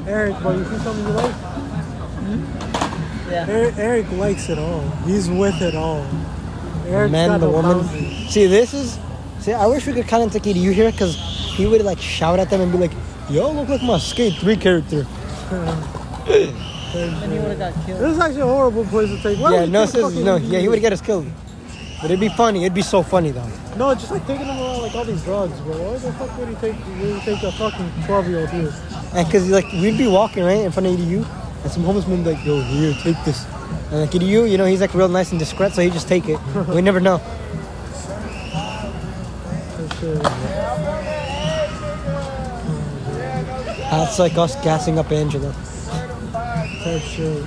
S4: Eric, boy, you see something you like?
S5: Hmm?
S7: Yeah.
S4: Eric, Eric likes it all. He's with it all. Eric's
S5: man,
S4: got
S5: the
S4: no
S5: woman.
S4: boundaries.
S5: See, this is. See, I wish we could kind of take it you here because he would like shout at them and be like, "Y'all look like my skate three character."
S7: Then he would've got killed.
S4: This is actually a horrible place to take. Why
S5: yeah,
S4: would you
S5: no,
S4: take
S5: sis,
S4: fucking-
S5: no, yeah, he would get us killed. But it'd be funny. It'd be so funny though.
S4: No, just like taking them around like all these drugs, bro. Why the fuck would he take? Would he take a fucking twelve-year-old here?
S5: And because like we'd be walking right in front of EDU, and some homeless man like, yo, here, take this. And like EDU, you know, he's like real nice and discreet, so he just take it. we never know. That's like us gassing up Angela.
S4: Type shit.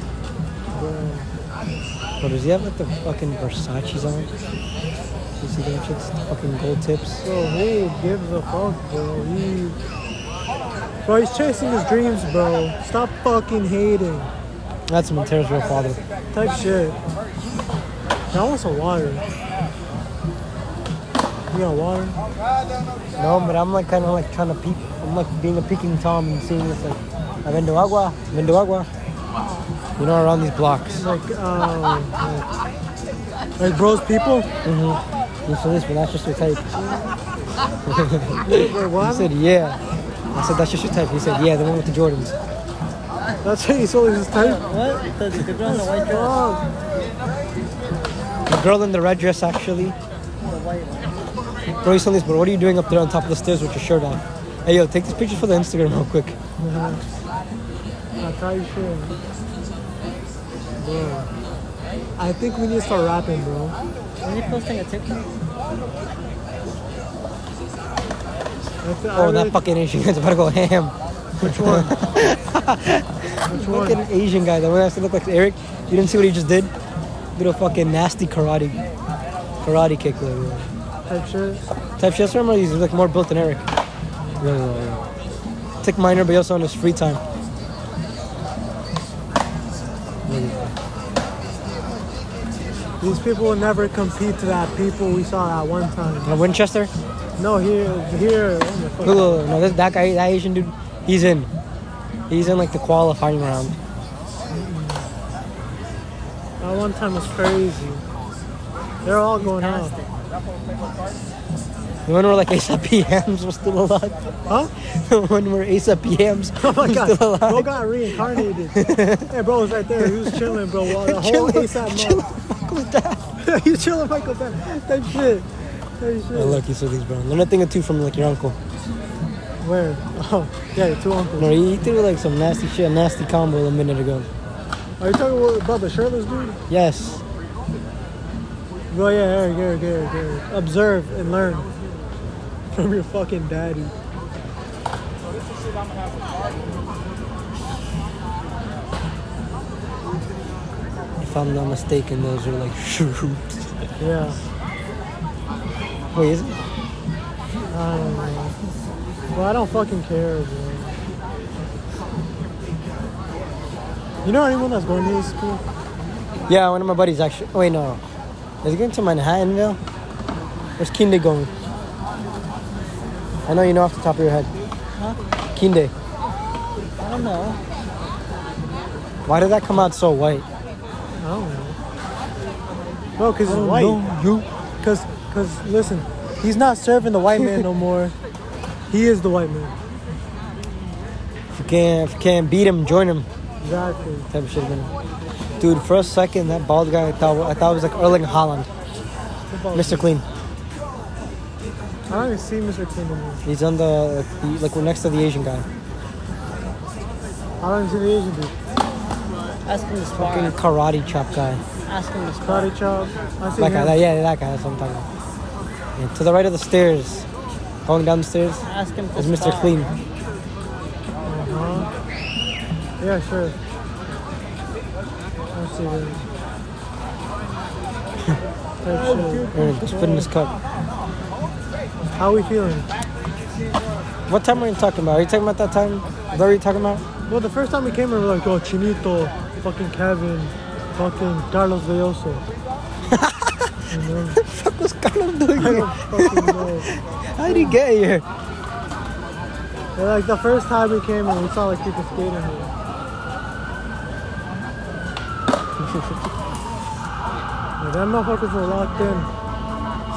S5: But does he have like the fucking Versace's on? You see that shit's fucking gold tips.
S4: Bro, who gives a fuck, bro? He... Bro, he's chasing his dreams, bro. Stop fucking hating.
S5: That's Montero's real father.
S4: Type shit. That wants some water. You got water?
S5: No, but I'm like kind of like trying to peek. I'm like being a peeking tom and seeing this like, I've been to Agua, I've been to Agua. You know, around these blocks.
S4: Like, uh, like, like bros, people?
S5: You said this, but that's just your type.
S4: Wait,
S5: He
S4: what?
S5: said, yeah. I said, that's just your type. He said, yeah, the one with the Jordans.
S4: That's how you sold his type?
S7: What? The, the girl in the white dress?
S4: Fuck.
S5: The girl in the red dress, actually. Bro, you saw this, but what are you doing up there on top of the stairs with your shirt on? Hey, yo, take this picture for the Instagram real quick.
S4: I type shit. Bro. I think we need to start rapping, bro.
S7: Are you posting a TikTok?
S4: I th- I
S5: Oh,
S4: really-
S5: that fucking Asian guy's about to go ham.
S4: Which one? Which one?
S5: Fucking Asian guy, the one that has to look like Eric. You didn't see what he just did? Did a fucking nasty karate karate kick. Like, uh,
S4: Type shit.
S5: Type shit, remember he's like more built than Eric. Took minor, but he also on his free time.
S4: These people will never compete to that people we saw at one time.
S5: Uh, Winchester?
S4: No, here, here. oh my fuck.
S5: Look, look, look, no, this, that guy, that Asian dude, he's in. He's in like the qualifying round.
S4: That one time was crazy. They're all going out.
S7: Constant.
S5: The one where like ASAP Yams was still alive.
S4: Huh?
S5: The one where ASAP Yams
S4: Oh my
S5: was
S4: god,
S5: still
S4: bro
S5: alive.
S4: got reincarnated. hey, bro was right there. He was chilling, bro. While the whole
S5: Chilling-
S4: ASAP Mob. He was chilling, Michael That That shit. That
S5: Oh,
S4: shit.
S5: look, he said these bro. Learn a thing or two from like your uncle.
S4: Where? Oh, yeah, your two uncles.
S5: No, he he threw like some nasty shit, a nasty combo a minute ago.
S4: Are you talking about, about the shirtless dude?
S5: Yes.
S4: Bro, yeah, Eric, Eric, Eric, Eric. Observe and learn from your fucking daddy.
S5: If I'm not mistaken, those are like shrooms.
S4: Yeah.
S5: Wait, is it?
S4: I don't know. Bro, I don't fucking care, bro. You know anyone that's going to this school?
S5: Yeah, one of my buddies actually. Wait, no. Is he going to Manhattanville? Where's Kinde going? I know you know off the top of your head. Huh? Kinde.
S7: I don't know.
S5: Why did that come out so white?
S4: I don't know. Bro, because he's white.
S5: you.
S4: Cause, cause, listen, he's not serving the white man no more. He is the white man.
S5: If you can't, if you can't beat him, join him.
S4: Exactly.
S5: Type of shit. Man. Dude, for a second, that bald guy I thought I thought was like Erling Holland, Mr. Clean.
S4: I don't even see Mr. King anymore.
S5: He's on the like, the- like we're next to the Asian
S4: I
S5: guy.
S4: don't even see the Asian dude.
S7: Ask him to spar.
S5: Fucking karate chop guy.
S7: Ask him to spar.
S4: Karate chop. I see
S5: That guy.
S4: him.
S5: That, yeah, that guy. That's what I'm talking about. Yeah, to the right of the stairs, going down the stairs.
S7: Ask him to
S5: It's Mr.
S7: spar.
S5: Clean.
S4: Uh-huh. Yeah, sure. I see him. Type shit.
S5: Alright, Just put in this cup.
S4: How we feeling?
S5: What time are you talking about? Are you talking about that time? Is that what you're talking about?
S4: Well, the first time we came, we were like, oh, Chinito, fucking Kevin, fucking Carlos Velloso.
S5: Fuck was Carlos doing
S4: I
S5: here?
S4: don't fucking know.
S5: How did he get here?
S4: And, like the first time we came in, we saw like people skating here. Like, them motherfuckers were locked in.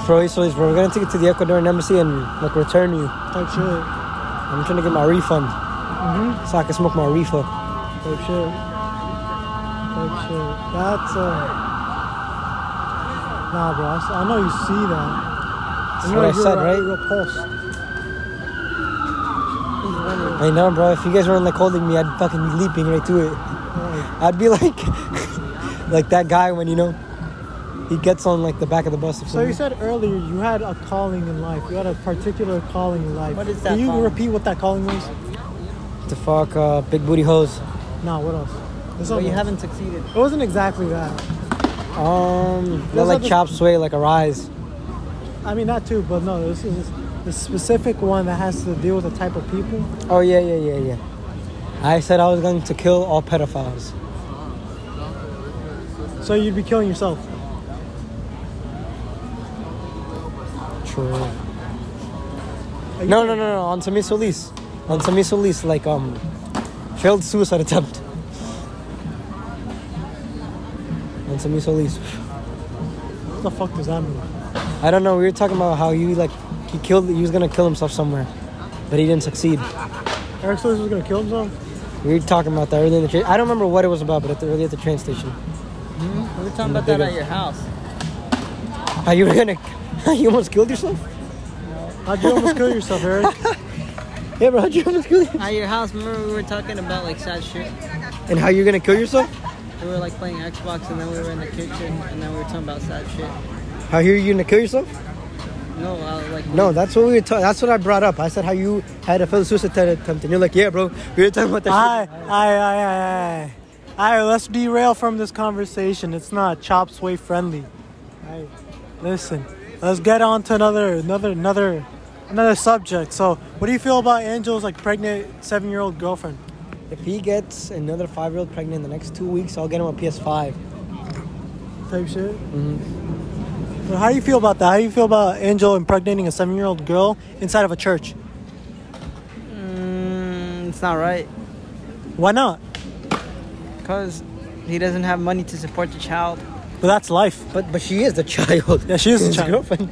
S5: Bro, so bro, we're gonna take it to the Ecuadorian embassy and like return you.
S4: Type shit.
S5: I'm trying to get my refund. So I can smoke my reefer.
S4: Type shit. Type shit. That's uh. Nah, bro. I, s- I know you see that.
S5: That's what I said, right?
S4: Repulsed.
S7: He's
S5: I
S7: winning.
S5: know, bro. If you guys weren't like holding me, I'd fucking be leaping right to it. I'd be like, like that guy when you know he gets on like the back of the bus. Or
S4: So you
S5: something.
S4: said earlier you had a calling in life. You had a particular calling in life.
S7: What is
S4: Can
S7: that
S4: you
S7: calling?
S4: repeat what that calling was?
S5: to fuck uh, big booty hoes.
S4: Nah, what else? There's
S7: But
S4: something
S7: you
S4: else.
S7: haven't succeeded.
S4: It wasn't exactly that.
S5: Um, that
S4: Those
S5: like
S4: are the-
S5: chop sway like a rise.
S4: I mean, that too, but no, this is the specific one that has to deal with the type of people.
S5: Oh yeah, yeah, yeah, yeah. I said I was going to kill all pedophiles.
S4: So you'd be killing yourself.
S5: True. No, no, no, no. On Samir Solis. On Samir Solis, like um, failed suicide attempt. On Samir Solis.
S4: What the fuck does that mean?
S5: I don't know. We were talking about how he like he killed. He was gonna kill himself somewhere, but he didn't succeed.
S4: Eric Solis was gonna kill himself?
S5: We were talking about that earlier in the train. I don't remember what it was about, but at the, early at the train station,
S7: We were talking about that at your house.
S5: how you were gonna, you almost killed yourself.
S4: How'd you almost kill yourself, Eric?
S5: Yeah, bro, how'd you almost kill yourself?
S7: At your house, remember we were talking about like sad shit.
S5: And how you're gonna kill yourself?
S7: We were like playing Xbox, and then we were in the kitchen, and then we were talking about sad shit.
S5: How you're gonna kill yourself?
S7: No, I was like
S5: No, that's what we were talking. That's what I brought up. I said how you had a failed suicide attempt, and you're like, yeah, bro. We were talking about that.
S4: Aye,
S5: shit.
S4: aye, aye, aye, aye. Aye, let's derail from this conversation. It's not chop sway friendly. Aye. Listen, let's get on to another, another, another, another subject. So, what do you feel about Angel's like pregnant seven-year-old girlfriend?
S5: If he gets another five-year-old pregnant in the next two weeks, I'll get him a PS5.
S4: type shit.
S5: Mm-hmm.
S4: But how do you feel about that? How do you feel about Angel impregnating a seven-year-old girl inside of a church?
S7: Mm, it's not right.
S4: Why not?
S7: Because he doesn't have money to support the child.
S4: But that's life.
S5: But but she is the child.
S4: Yeah, she is a
S5: His
S4: child.
S5: girlfriend.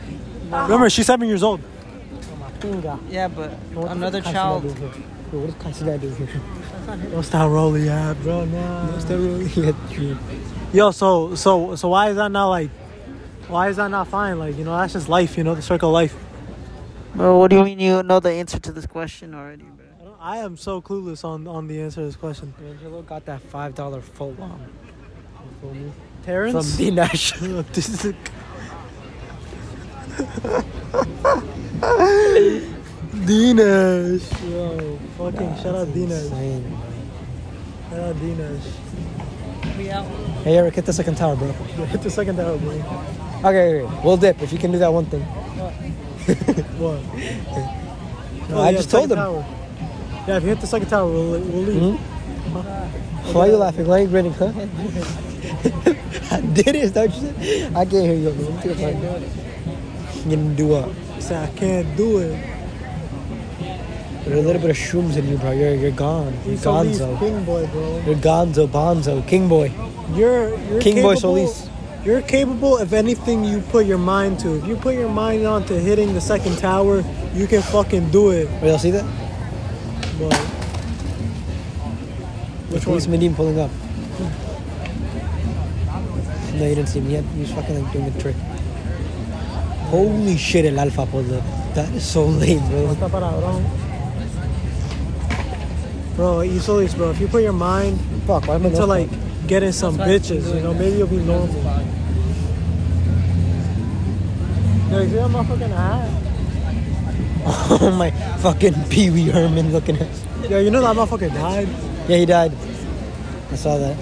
S4: Remember, she's seven years old.
S7: Yeah, but
S5: What the
S7: another
S5: fuck is
S7: child.
S5: Katsuna doing here? Bro, what is Katsuna doing here?
S4: What's that role yeah, bro? Nah.
S5: What's the rule here?
S4: Yo, so so so why is that not like? Why is that not fine? Like you know, that's just life. You know, the circle of life.
S7: Bro, what do you mean you know the answer to this question already, bro?
S4: I don't- I am so clueless on on the answer to this question.
S5: Angelo got that five dollar full on from
S4: Terrence.
S5: D Nash.
S4: This is a- Dinesh, yo, fucking shout out Dinesh,
S5: Insane.
S4: shout out Dinesh.
S7: We out.
S5: Hey Eric, hit the second tower, bro.
S4: Yeah, hit the second tower, bro.
S5: Okay, wait, wait. we'll dip if you can do that one thing.
S4: What? Oh,
S5: No, I just told him.
S4: Tower. Yeah, if you hit the second tower, we'll, we'll leave.
S5: Why are you laughing? Why are you grinning, huh? I did it, don't you? say? I can't hear you. Man. Take a fight. You didn't do what?
S4: He said, I can't do it.
S5: There's a little bit of shrooms in you, bro. You're you're gone. You're
S4: He's Solis,
S5: gonzo.
S4: King Boy, bro.
S5: You're gonzo, bonzo, king boy.
S4: You're, you're
S5: King
S4: capable,
S5: Boy Solis.
S4: You're capable of anything you put your mind to. If you put your mind on to hitting the second tower, you can fucking do it.
S5: Wait, y'all see that?
S4: But
S5: Which one? Medine pulling up. No, you didn't see him yet. He was fucking like doing a trick. Holy shit, El Alfa pulled up. That is so lame, bro.
S4: Está parado, bro. Bro, easily, bro. If you put your mind
S5: Fuck, why am I
S4: into
S5: not-
S4: like getting some bitches, you know, maybe you'll be normal. Yo, you see that motherfucker in the hat?
S5: Oh my fucking Pee Wee Herman looking at us.
S4: Yo, you know that motherfucker died?
S5: Yeah, he died. I saw that.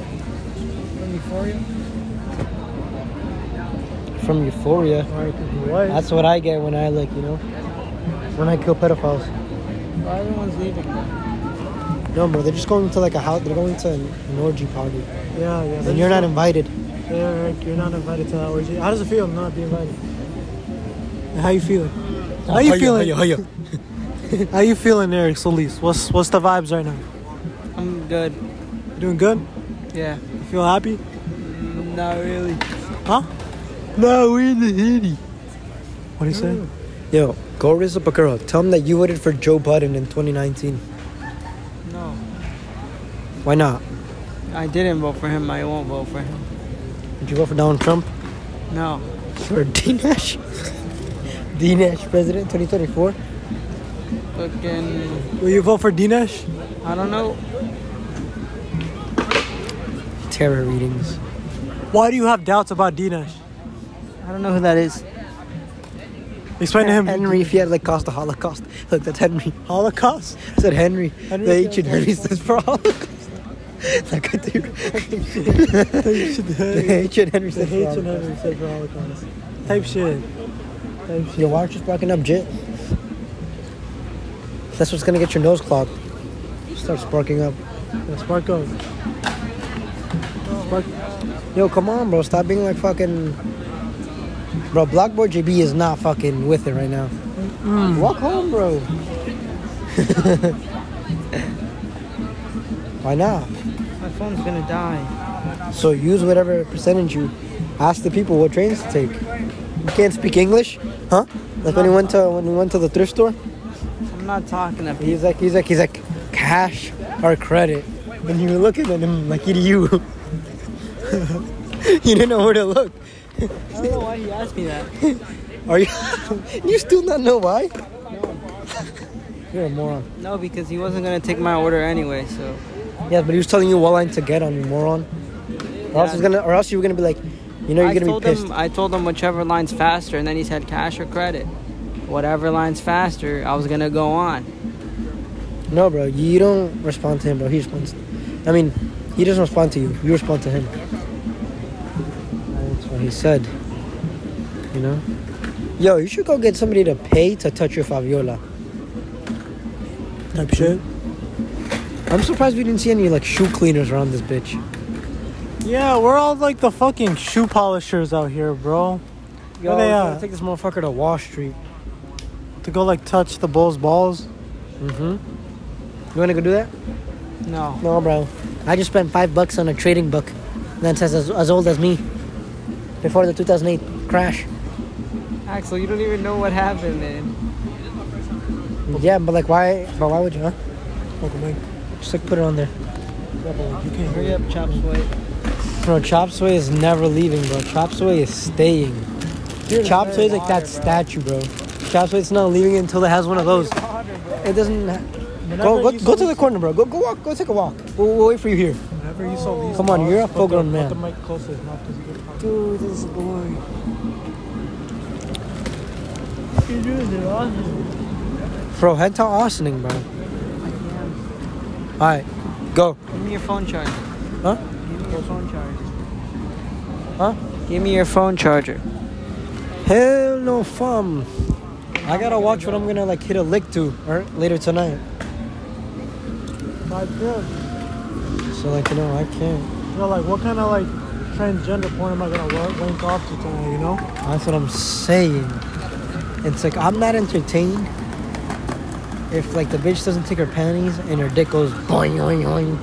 S5: From Euphoria? From Euphoria.
S4: Like, what?
S5: That's what I get when I like, you know, when I kill pedophiles.
S7: Why everyone's leaving?
S5: No, bro, they're just going to like a house. They're going to an, an orgy party,
S4: yeah, yeah.
S5: and you're not invited.
S4: Eric, Uh, you're not invited to that orgy. How does it feel not being invited? How you feeling? How you feeling? How you feeling, Eric Solis? What's what's the vibes right now?
S7: I'm good.
S4: You doing good?
S7: Yeah.
S4: You feel happy?
S7: Not really.
S4: Huh? No, we in the hitty. What do you say?
S5: Yo, go raise up a girl. Tell them that you voted for Joe Budden in 2019.
S7: No.
S5: Why not?
S7: I didn't vote for him. I won't vote for him.
S5: Did you vote for Donald Trump?
S7: No.
S5: For D Nash? D Nash president 2024?
S7: What Fucking.
S4: Will you vote for Dinesh?
S7: I don't know.
S5: Terror readings.
S4: Why do you have doubts about Dinesh?
S5: I don't know who that is.
S4: Explain to him.
S5: Henry, if he had like caused the Holocaust. Look, that's Henry.
S4: Holocaust?
S5: I said Henry.
S4: Henry
S5: the
S4: if he
S5: ancient
S4: had
S5: Henry's this for Holocaust. like I do.
S4: Type shit.
S5: the ancient Henry's
S4: The
S5: this for
S4: hates and Henry
S5: Holocaust.
S4: said for Holocaust. Type shit. Type shit.
S5: Your watch is blocking up, Jit. That's what's gonna get your nose clogged. Start sparking up.
S4: Yeah, spark up.
S5: Yo, come on, bro. Stop being like fucking. Bro, Blockboard JB is not fucking with it right now.
S4: Mm.
S5: Walk home, bro. Why not?
S7: My phone's gonna die.
S5: So use whatever percentage you ask the people what trains to take. You can't speak English, huh? Like when he went to when he went to the thrift store,
S7: I'm not talking to people.
S5: he's like he's like he's like cash or credit, and you were looking at him like idiot. You You didn't know where to look.
S7: I don't know why he asked me that.
S5: Are you? you still not know why? You're a moron.
S7: No, because he wasn't gonna take my order anyway, so.
S5: Yeah, but he was telling you what line to get on, you moron. Or else
S7: Yeah.
S5: he's gonna, or else you were gonna be like, you know, you're
S7: I
S5: gonna
S7: told
S5: be pissed.
S7: him I told him whichever line's faster, and then he said cash or credit. Whatever line's faster, I was gonna go on.
S5: No, bro, you don't respond to him, bro. He responds. I mean, he doesn't respond to you. You respond to him. That's what he said. You know. Yo, you should go get somebody to pay to touch your faviola.
S4: Type shit.
S5: I'm surprised we didn't see any like shoe cleaners around this bitch.
S4: Yeah, we're all like the fucking shoe polishers out here, bro.
S5: Yo,
S4: Where they
S5: we gotta
S4: at?
S5: take this motherfucker to Wall Street.
S4: To go like touch the bull's balls.
S5: You wanna go do that?
S7: No.
S5: No, bro. I just spent five bucks on a trading book that says as, as old as me. Before the 2008 crash.
S7: Axel, you don't even know what happened, man.
S5: Yeah, but like, why? But why would you? Huh?
S4: Welcome back.
S5: Just like put it on there.
S7: Hurry up, Chop Sway.
S5: Bro, Chop Sway is never leaving, bro. Chop Sway is staying. Chop Sway is like that statue, bro. Chop Sway's not leaving until it has one of those. It doesn't. Ha- go go, go to the corner, bro. Go go walk. Go take a walk. We'll, we'll wait for you here.
S4: Whenever you saw these
S5: Come on, you're a
S4: put
S5: full grown
S4: the-
S5: man.
S4: Put the mic close to his mouth 'cause he could talk.
S5: Dude, this is boring. Bro, head to Austining, bro. Alright, go.
S7: Give me your phone charger.
S5: Huh?
S7: Give me your phone charger.
S5: Huh?
S7: Give me your phone charger.
S5: Hell no fun. I gotta watch what I'm gonna like hit a lick to or later tonight.
S4: Type shit.
S5: So like you know I can't.
S4: Yo, like, what kind of like transgender porn am I gonna wa- wank off to tonight? You know?
S5: That's what I'm saying. It's like I'm not entertained if like the bitch doesn't take her panties and her dick goes boing boing boing.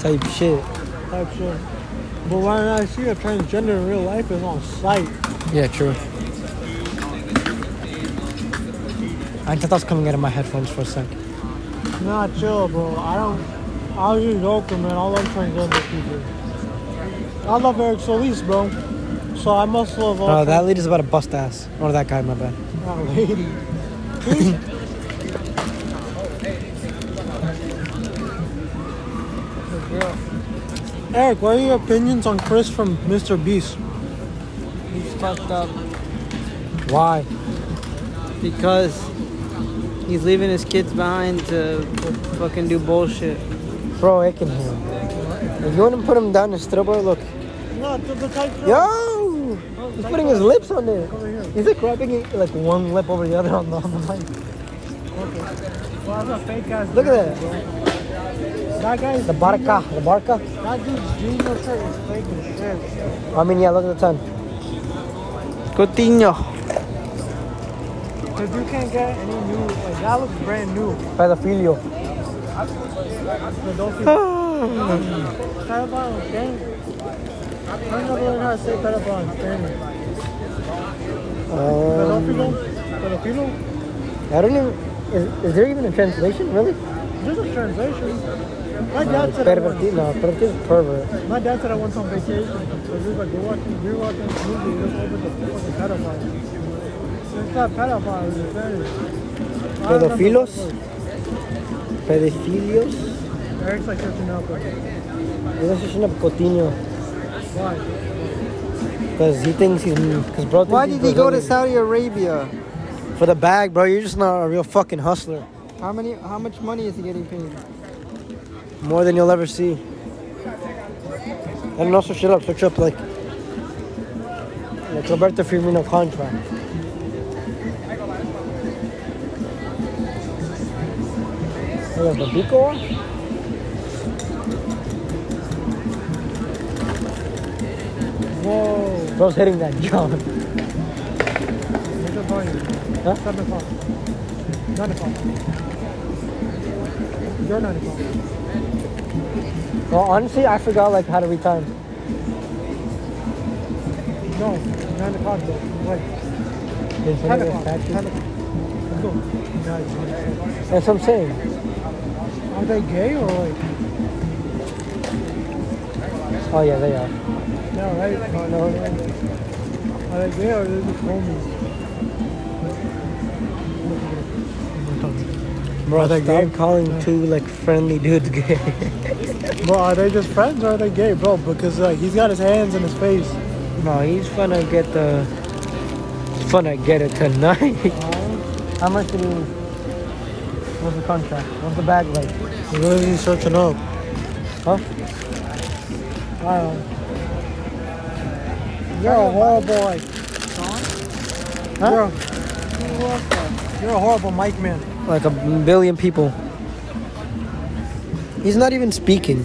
S5: Type shit.
S4: Type shit. But when I see a transgender in real life, it's on sight.
S5: Yeah, true. I thought that was coming out of my headphones for a sec.
S4: Nah, chill, bro. I don't. I was just joking, man. I love transgender people. I love Eric Solis, bro. So I must love all.
S5: Oh, that lady's about to bust ass. Or that guy, my bad.
S4: trans- that lady. Eric, what are your opinions on Chris from Mr. Beast?
S7: He's fucked up
S5: Why?
S7: because he's leaving his kids behind to fucking do bullshit.
S5: Bro, I can hear him. If you want to put him down his stripper, look.
S4: No, the, the type.
S5: Yo! He's putting his lips on it. He's like wrapping it like one lip over the other on the, on the mic.
S4: Well, that's a fake ass.
S5: Look at that.
S4: That guy's
S5: The barca. The barca.
S4: That dude's Gino shirt is fake as shit.
S5: I mean, yeah, look at the time.
S7: Coutinho.
S4: Cause you can't get any new. Like that looks brand new.
S5: Pedophilia.
S4: But don't you? Pedophile in Spain. I never learned how to say pedophile in Spanish. Um, Pedofilo? Pedofilo?
S5: I don't even. Is, is there even a translation, really?
S4: There's a translation. My dad said I
S5: Perverti-
S4: went,
S5: no, pervertido is pervert.
S4: my dad said I went on vacation. So he was like, we're watching, we're watching this movie. It was over the, over the pedophile. It's not pedophiles, it's fetish. I don't know
S5: Pedophilos?
S4: the word.
S5: Pedofilios?
S4: Eric's like searching up.
S5: He's searching up Coutinho
S4: Why?
S5: because he thinks he's. Cause bro thinks
S7: Why
S5: he's
S7: did he go to
S5: Brazilian.
S7: Saudi Arabia?
S5: For the bag, bro. You're just not a real fucking hustler.
S7: How many? How much money is he getting paid?
S5: More than you'll ever see. And also, shut up, search up like. Like Roberto Firmino contract. Oh, the Bico? Whoa. Bro's hitting that jump.
S4: What's the volume?
S5: Huh?
S4: Seven o'clock. Nine o'clock. You're nine o'clock.
S5: Well, honestly, I forgot like how to retime.
S4: No, nine o'clock though. Like
S5: There's
S4: ten
S5: another
S4: o'clock.
S5: statue.
S4: Ten o'clock. Let's go. Nice.
S5: That's what I'm saying.
S4: Are they gay or like?
S5: Oh yeah, they are.
S4: Yeah, right. No, no, no. Are they gay or are they just homies?
S5: Bro, stop calling two like friendly dudes gay.
S4: Bro, are they just friends or are they gay, bro? Because like he's got his hands in his face.
S5: no, he's gonna get the. He's gonna get it tonight. How much did he? What's the contract? What's the bag like?
S4: What is he searching up?
S5: Huh?
S4: Wow. You're a horrible like. Huh? You're, a, you're a horrible mic man.
S5: Like a billion people. He's not even speaking.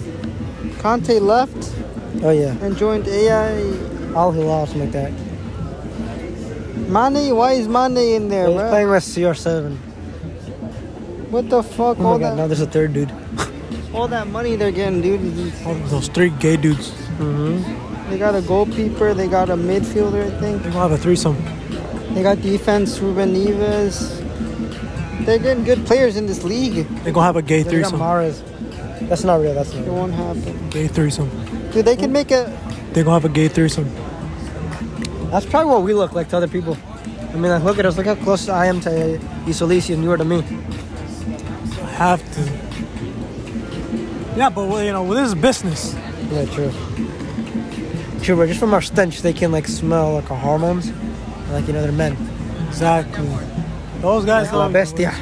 S7: Conte left
S5: Oh yeah,
S7: and joined AI.
S5: Al Hilal something like that.
S7: Mane, why is Mane in there,
S5: He's
S7: bro?
S5: playing with CR7.
S7: What the fuck?
S5: Oh my
S7: all
S5: god, now
S7: that,
S5: there's a third dude.
S7: all that money they're getting, dude.
S4: Those three gay dudes.
S7: They got a goalkeeper. They got a midfielder, I think.
S4: They gonna have a threesome.
S7: They got defense. Ruben Neves. They're getting good players in this league.
S4: They gonna have a gay
S5: They got
S4: threesome.
S5: Mahrez. That's not real. That's
S7: It
S5: not.
S7: won't happen,
S4: Gay threesome.
S7: dude. They can make a
S4: They gonna have a gay threesome.
S5: Real. That's probably what we look like to other people. I mean, like, look at us. Look how close I am to Isolisi and you are to me.
S4: Have to. Yeah, but well, you know, well, this is business.
S5: Yeah, true. True, but just from our stench, they can like smell like our hormones, like you know they're men.
S4: Exactly. Those guys.
S5: La bestia.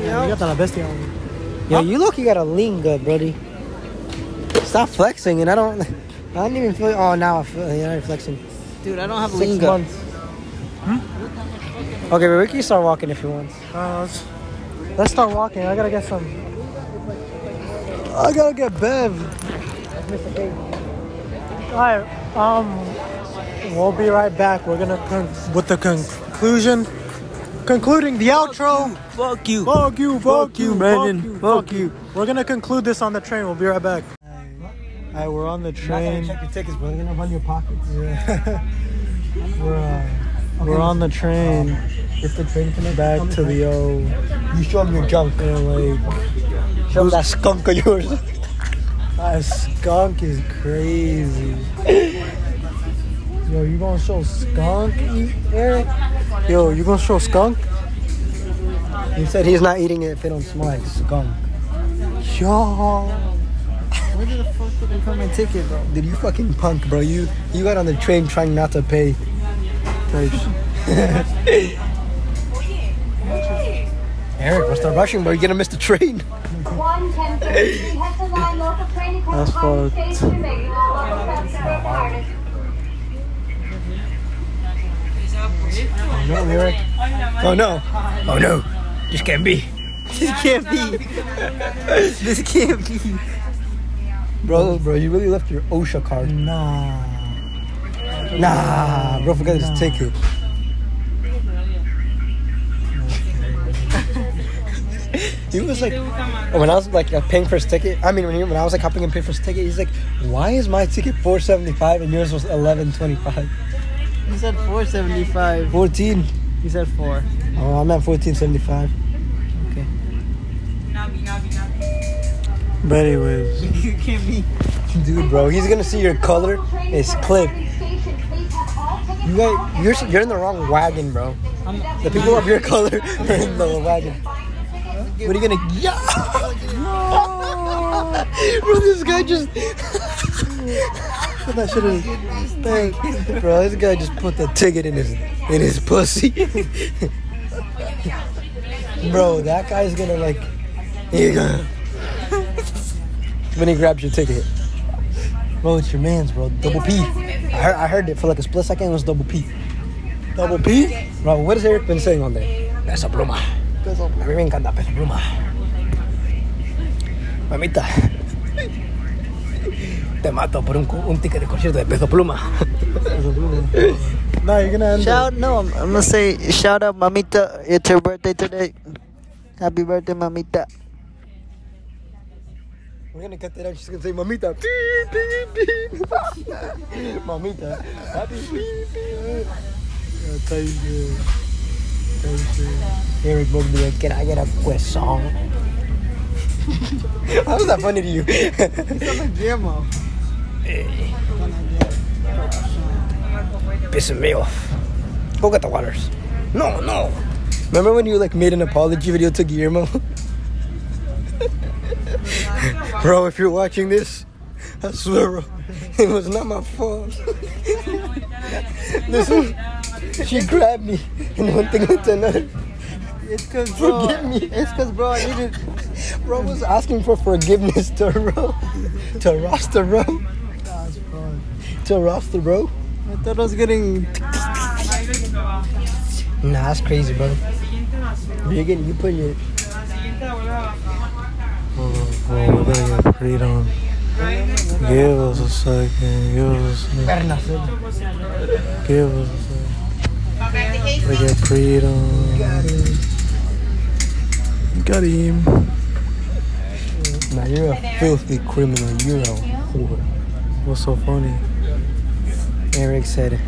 S4: Yeah, you got la bestia.
S5: Yo, you look, you got a linga, brody. Stop flexing, and I don't, I don't even feel. Oh, now I feel you're not even flexing.
S10: Dude, I don't have
S5: Six
S10: lingo.
S5: months. Okay, but we can start walking if you want.
S4: Uh, let's-
S5: Hmm? Let's start walking. I gotta get some. I gotta get Bev.
S4: All right. Um, we'll be right back. We're gonna con- with the conclusion, concluding the outro.
S10: Fuck you.
S4: Fuck you, fuck,
S10: you, Brandon.
S4: fuck you,
S10: Fuck
S4: fuck you. We're gonna conclude this on the train. We'll be right back. All right, we're on the train.
S5: your tickets, bro. They're gonna run your pockets.
S4: We're, uh, we're on the train.
S5: If the train connects
S4: Back to the old
S5: you show them your junk.
S4: LA.
S5: Show 'em that skunk of yours.
S4: That skunk is crazy. Yo, you gonna show skunk, E- Eric? Yo, you gonna show skunk?
S5: He said he's not eating it if it don't smell like skunk.
S4: Yo.
S5: Where the fuck did I put my ticket, bro? Did you fucking punk, bro? You you got on the train trying not to pay. Type shit. Eric, we're start rushing, bro. You're gonna miss the train.
S11: That's fucked.
S5: No, Eric. Oh no. Oh no. This can't be.
S7: This can't be. this can't be.
S5: Bro, bro, you really left your OSHA card.
S4: Nah.
S5: Nah, bro, forgot his ticket. he was like, when I was like uh, paying for his ticket. I mean, when, he, when I was like hopping and paying for his ticket, he's like, "Why is my ticket four seventy five and yours was eleven twenty five?
S7: He said 475.
S5: Fourteen?
S7: He said four.
S5: Oh, I'm at fourteen seventy five.
S4: But anyways,
S7: you can't be.
S5: Dude, bro, he's gonna see your color. It's clip. You got, you're you're in the wrong wagon, bro. The people of your color are in the wagon. What are you gonna? Yeah. bro, this guy just.
S4: That shit is.
S5: bro, this guy just put the ticket in his in his pussy. bro, that guy's gonna like. Here you go. when he grabs your ticket. Bro, it's your man's, bro. Double P. I heard, I heard it for like a split second. It was double P. Double P? Bro, what has Eric been saying on there? Peso pluma. A mí me encanta peso pluma. Mamita. Te mato por un, cu- un ticket de concierto de peso pluma.
S4: Nah, you're gonna end
S12: Shout no, I'm, I'm gonna say shout out, mamita. It's your birthday today. Happy birthday, mamita.
S5: We're gonna cut that out. She's gonna say, Mamita. Mamita. Happy Eric Bob be like, can I get a pues croissant? How is that funny to you?
S13: Guillermo.
S5: Pissing me off. Go get the waters. No, no. Remember when you like made an apology video to Guillermo? bro, if you're watching this, I swear, bro, it was not my fault. Listen, she grabbed me, and one thing led to another.
S7: It's cause
S5: bro- Forgive me.
S7: It's cause bro, I needed.
S5: Bro was asking for forgiveness to Ro. To Rasta Ro. To Rasta Ro.
S7: I thought I was getting.
S5: Nah, that's crazy, bro. You're getting, you put your.
S4: Oh, freedom. Give us a second. Give us a second. Give us a second. We get freedom. Got him.
S5: Nah, you're a filthy criminal. You're a whore.
S4: What's so funny?
S5: Eric said,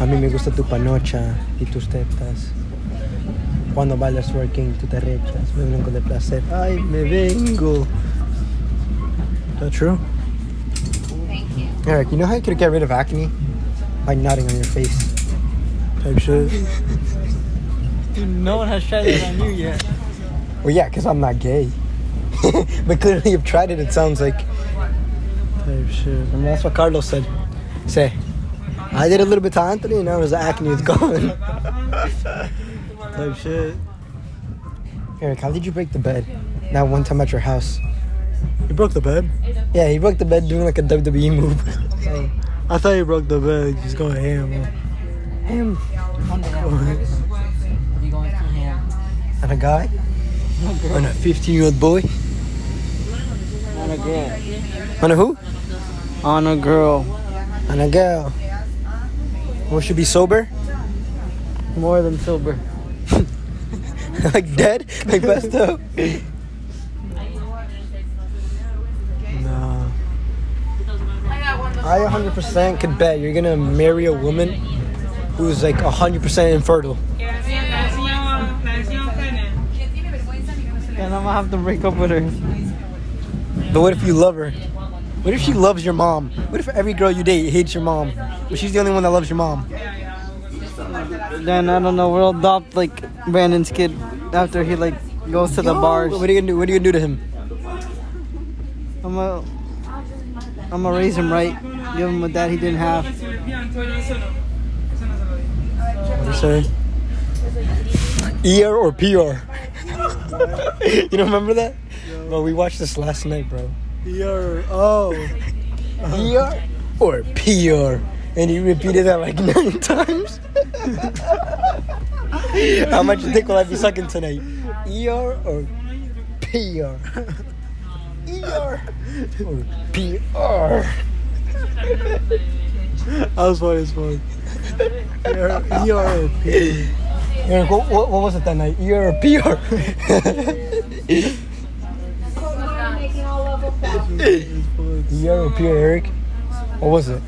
S5: a mí me gusta tu panocha y tus tetas. Cuando bailas working, tú te rechas. Me vengo de placer. Ay, me vengo.
S4: That true?
S5: Eric, you know how you could get rid of acne? By nodding on your face.
S4: Type shit.
S7: Dude, no one has tried that on you yet.
S5: Well, yeah, because I'm not gay. but clearly you've tried it, it sounds like.
S4: Type shit.
S5: I mean, that's what Carlos said. Say, I did a little bit to Anthony, and now his acne is gone.
S4: Type shit.
S5: Eric, how did you break the bed? That one time at your house.
S4: You broke the bed.
S5: Yeah, he broke the bed doing like a WWE move.
S4: I thought you broke the bed. He's going ham.
S5: Him
S7: You going through him?
S5: and a guy, Oh, and a 15-year-old boy,
S7: On a girl.
S5: and a who?
S7: On a girl.
S5: And a girl. Who should be sober?
S7: More than silver.
S5: like dead? Like Besto?
S4: Nah.
S5: I 100% could bet you're gonna marry a woman who's like 100% infertile.
S7: And I'm gonna have to break up with her.
S5: But what if you love her? What if she loves your mom? What if every girl you date hates your mom, but she's the only one that loves your mom?
S7: Then I don't know. We'll adopt like Brandon's kid after he like goes to the bars.
S5: What are you gonna do? What are you gonna do to him?
S7: I'm gonna, I'm gonna raise him right. Give him a dad he didn't have.
S4: You say?
S5: ER or PR? you don't remember that? Bro, we watched this last night, bro.
S4: You're. Oh.
S5: ER or PR? And he repeated that like nine times. How much dick will I be sucking tonight? ER or PR? ER or PR?
S4: That was funny as fuck. You're. You're.
S5: Eric, what, what, what was it that night? ER or PR? You're a pure Eric. What was it?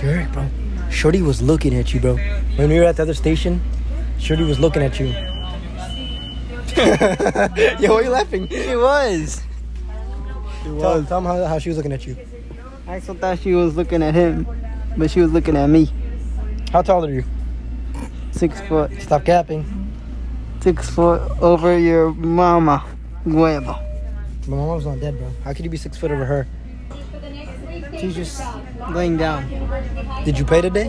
S5: Eric, bro. Shorty was looking at you, bro. When we were at the other station, Shorty was looking at you. Yo, why are you laughing? It was.
S4: It
S5: Tell,
S4: was.
S5: tell him how, how she was looking at you.
S7: Axel thought she was looking at him, but she was looking at me.
S5: How tall are you?
S14: six foot.
S5: Stop gapping.
S14: Six foot over your mama, huevo.
S5: My mom's not dead, bro. How could you be six foot over her?
S7: She's just laying down.
S5: Did you pay today?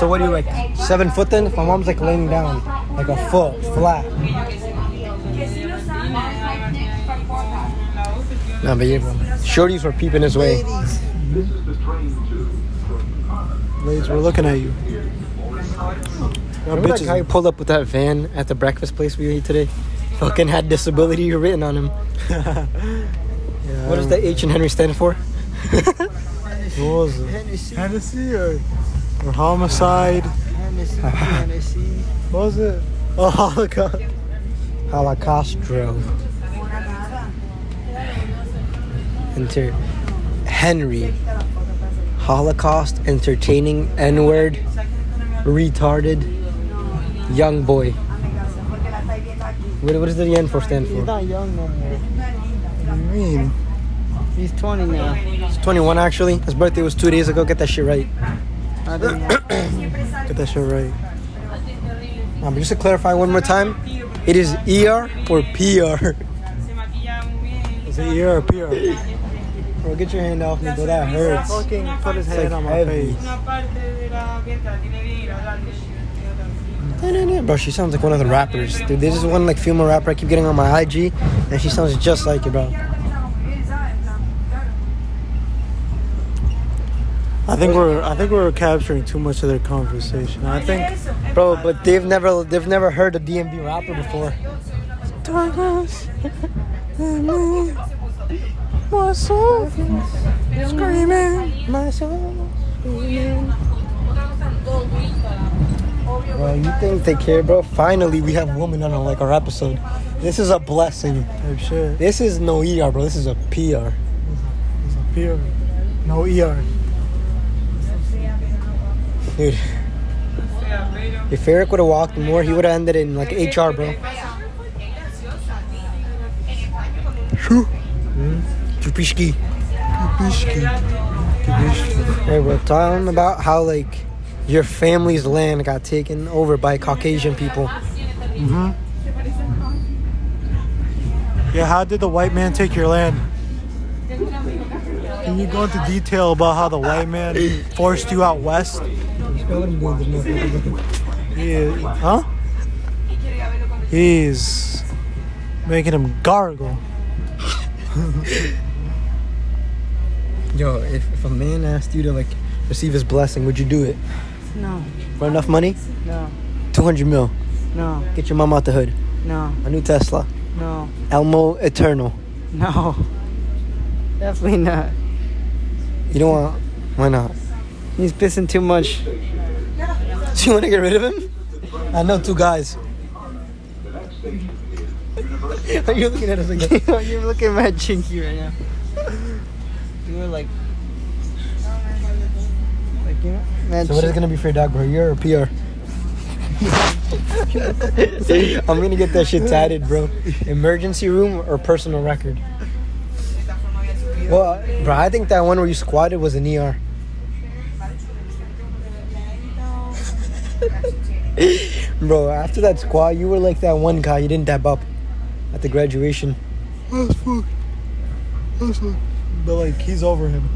S5: So what are you like seven foot then? If my mom's like laying down, like a foot flat. Nah, but yeah, bro. Shorties were peeping his way.
S4: Ladies, we're looking at you.
S5: Remember that guy who pulled up with that van at the breakfast place we ate today? Fucking had disability written on him. what does the H and Henry stand for?
S4: What was it?
S14: Hennessy,
S4: Hennessy or, or homicide?
S14: Hennessy, Hennessy.
S4: What was it? Oh, Holocaust.
S5: Holocaust drove. Enter Henry. Holocaust entertaining N word. Retarded. Young boy. What, what does the N for stand
S7: He's
S5: for?
S7: not young no more.
S4: What do you mean?
S7: He's 20 now.
S5: It's 21 actually. His birthday was two days ago. Get that shit right.
S7: I don't know.
S4: Get that shit right.
S5: Um, just to clarify one more time, it is ER or PR.
S4: Is it ear or PR?
S5: Bro, get your hand off me, bro. That hurts.
S4: Fucking put his
S5: It's
S4: hand
S5: like
S4: on my
S5: heavy.
S4: face.
S5: Bro, she sounds like one of the rappers. Dude, there's this one like female rapper I keep getting on my IG, and she sounds just like it, bro.
S4: I think we're I think we're capturing too much of their conversation. I think
S5: Bro, but they've never they've never heard a DMB rapper before.
S4: Douglas and me, my soul screaming.
S5: My soul. Bro, you think they care, bro? Finally, we have women on like our episode. This is a blessing.
S4: Type shit.
S5: This is no ER, bro. This is a PR.
S4: It's a PR. No
S5: E
S4: ER.
S5: Dude. If Eric would have walked more, he would have ended in like HR, bro. Shoo. Trubisky. Hey, bro, tell him about how like your family's land got taken over by Caucasian people.
S4: Yeah, how did the white man take your land? Can you go into detail about how the white man forced you out west? He is, huh? He's making him gargle.
S5: Yo, if, if a man asked you to like receive his blessing, would you do it
S7: No,
S5: for enough money?
S7: no,
S5: 200 mil.
S7: no,
S5: Get your mom out the hood.
S7: no,
S5: A new Tesla.
S7: no,
S5: Elmo Eternal.
S7: no. Definitely not.
S5: You don't want? Why not?
S7: He's pissing too much.
S5: Do you want to get rid of him? I know two guys. Are you looking at us like that?
S7: You're looking mad chinky right now. You were like, like you know, mad
S5: So what is it
S7: chin-
S5: gonna be for your dog, bro? You're a PR. I'm gonna get that shit tatted, bro. Emergency room or personal record? Well, bro, I think that one where you squatted was an ER. bro, after that squat, you were like that one guy. You didn't dab up at the graduation.
S4: But like, he's over him.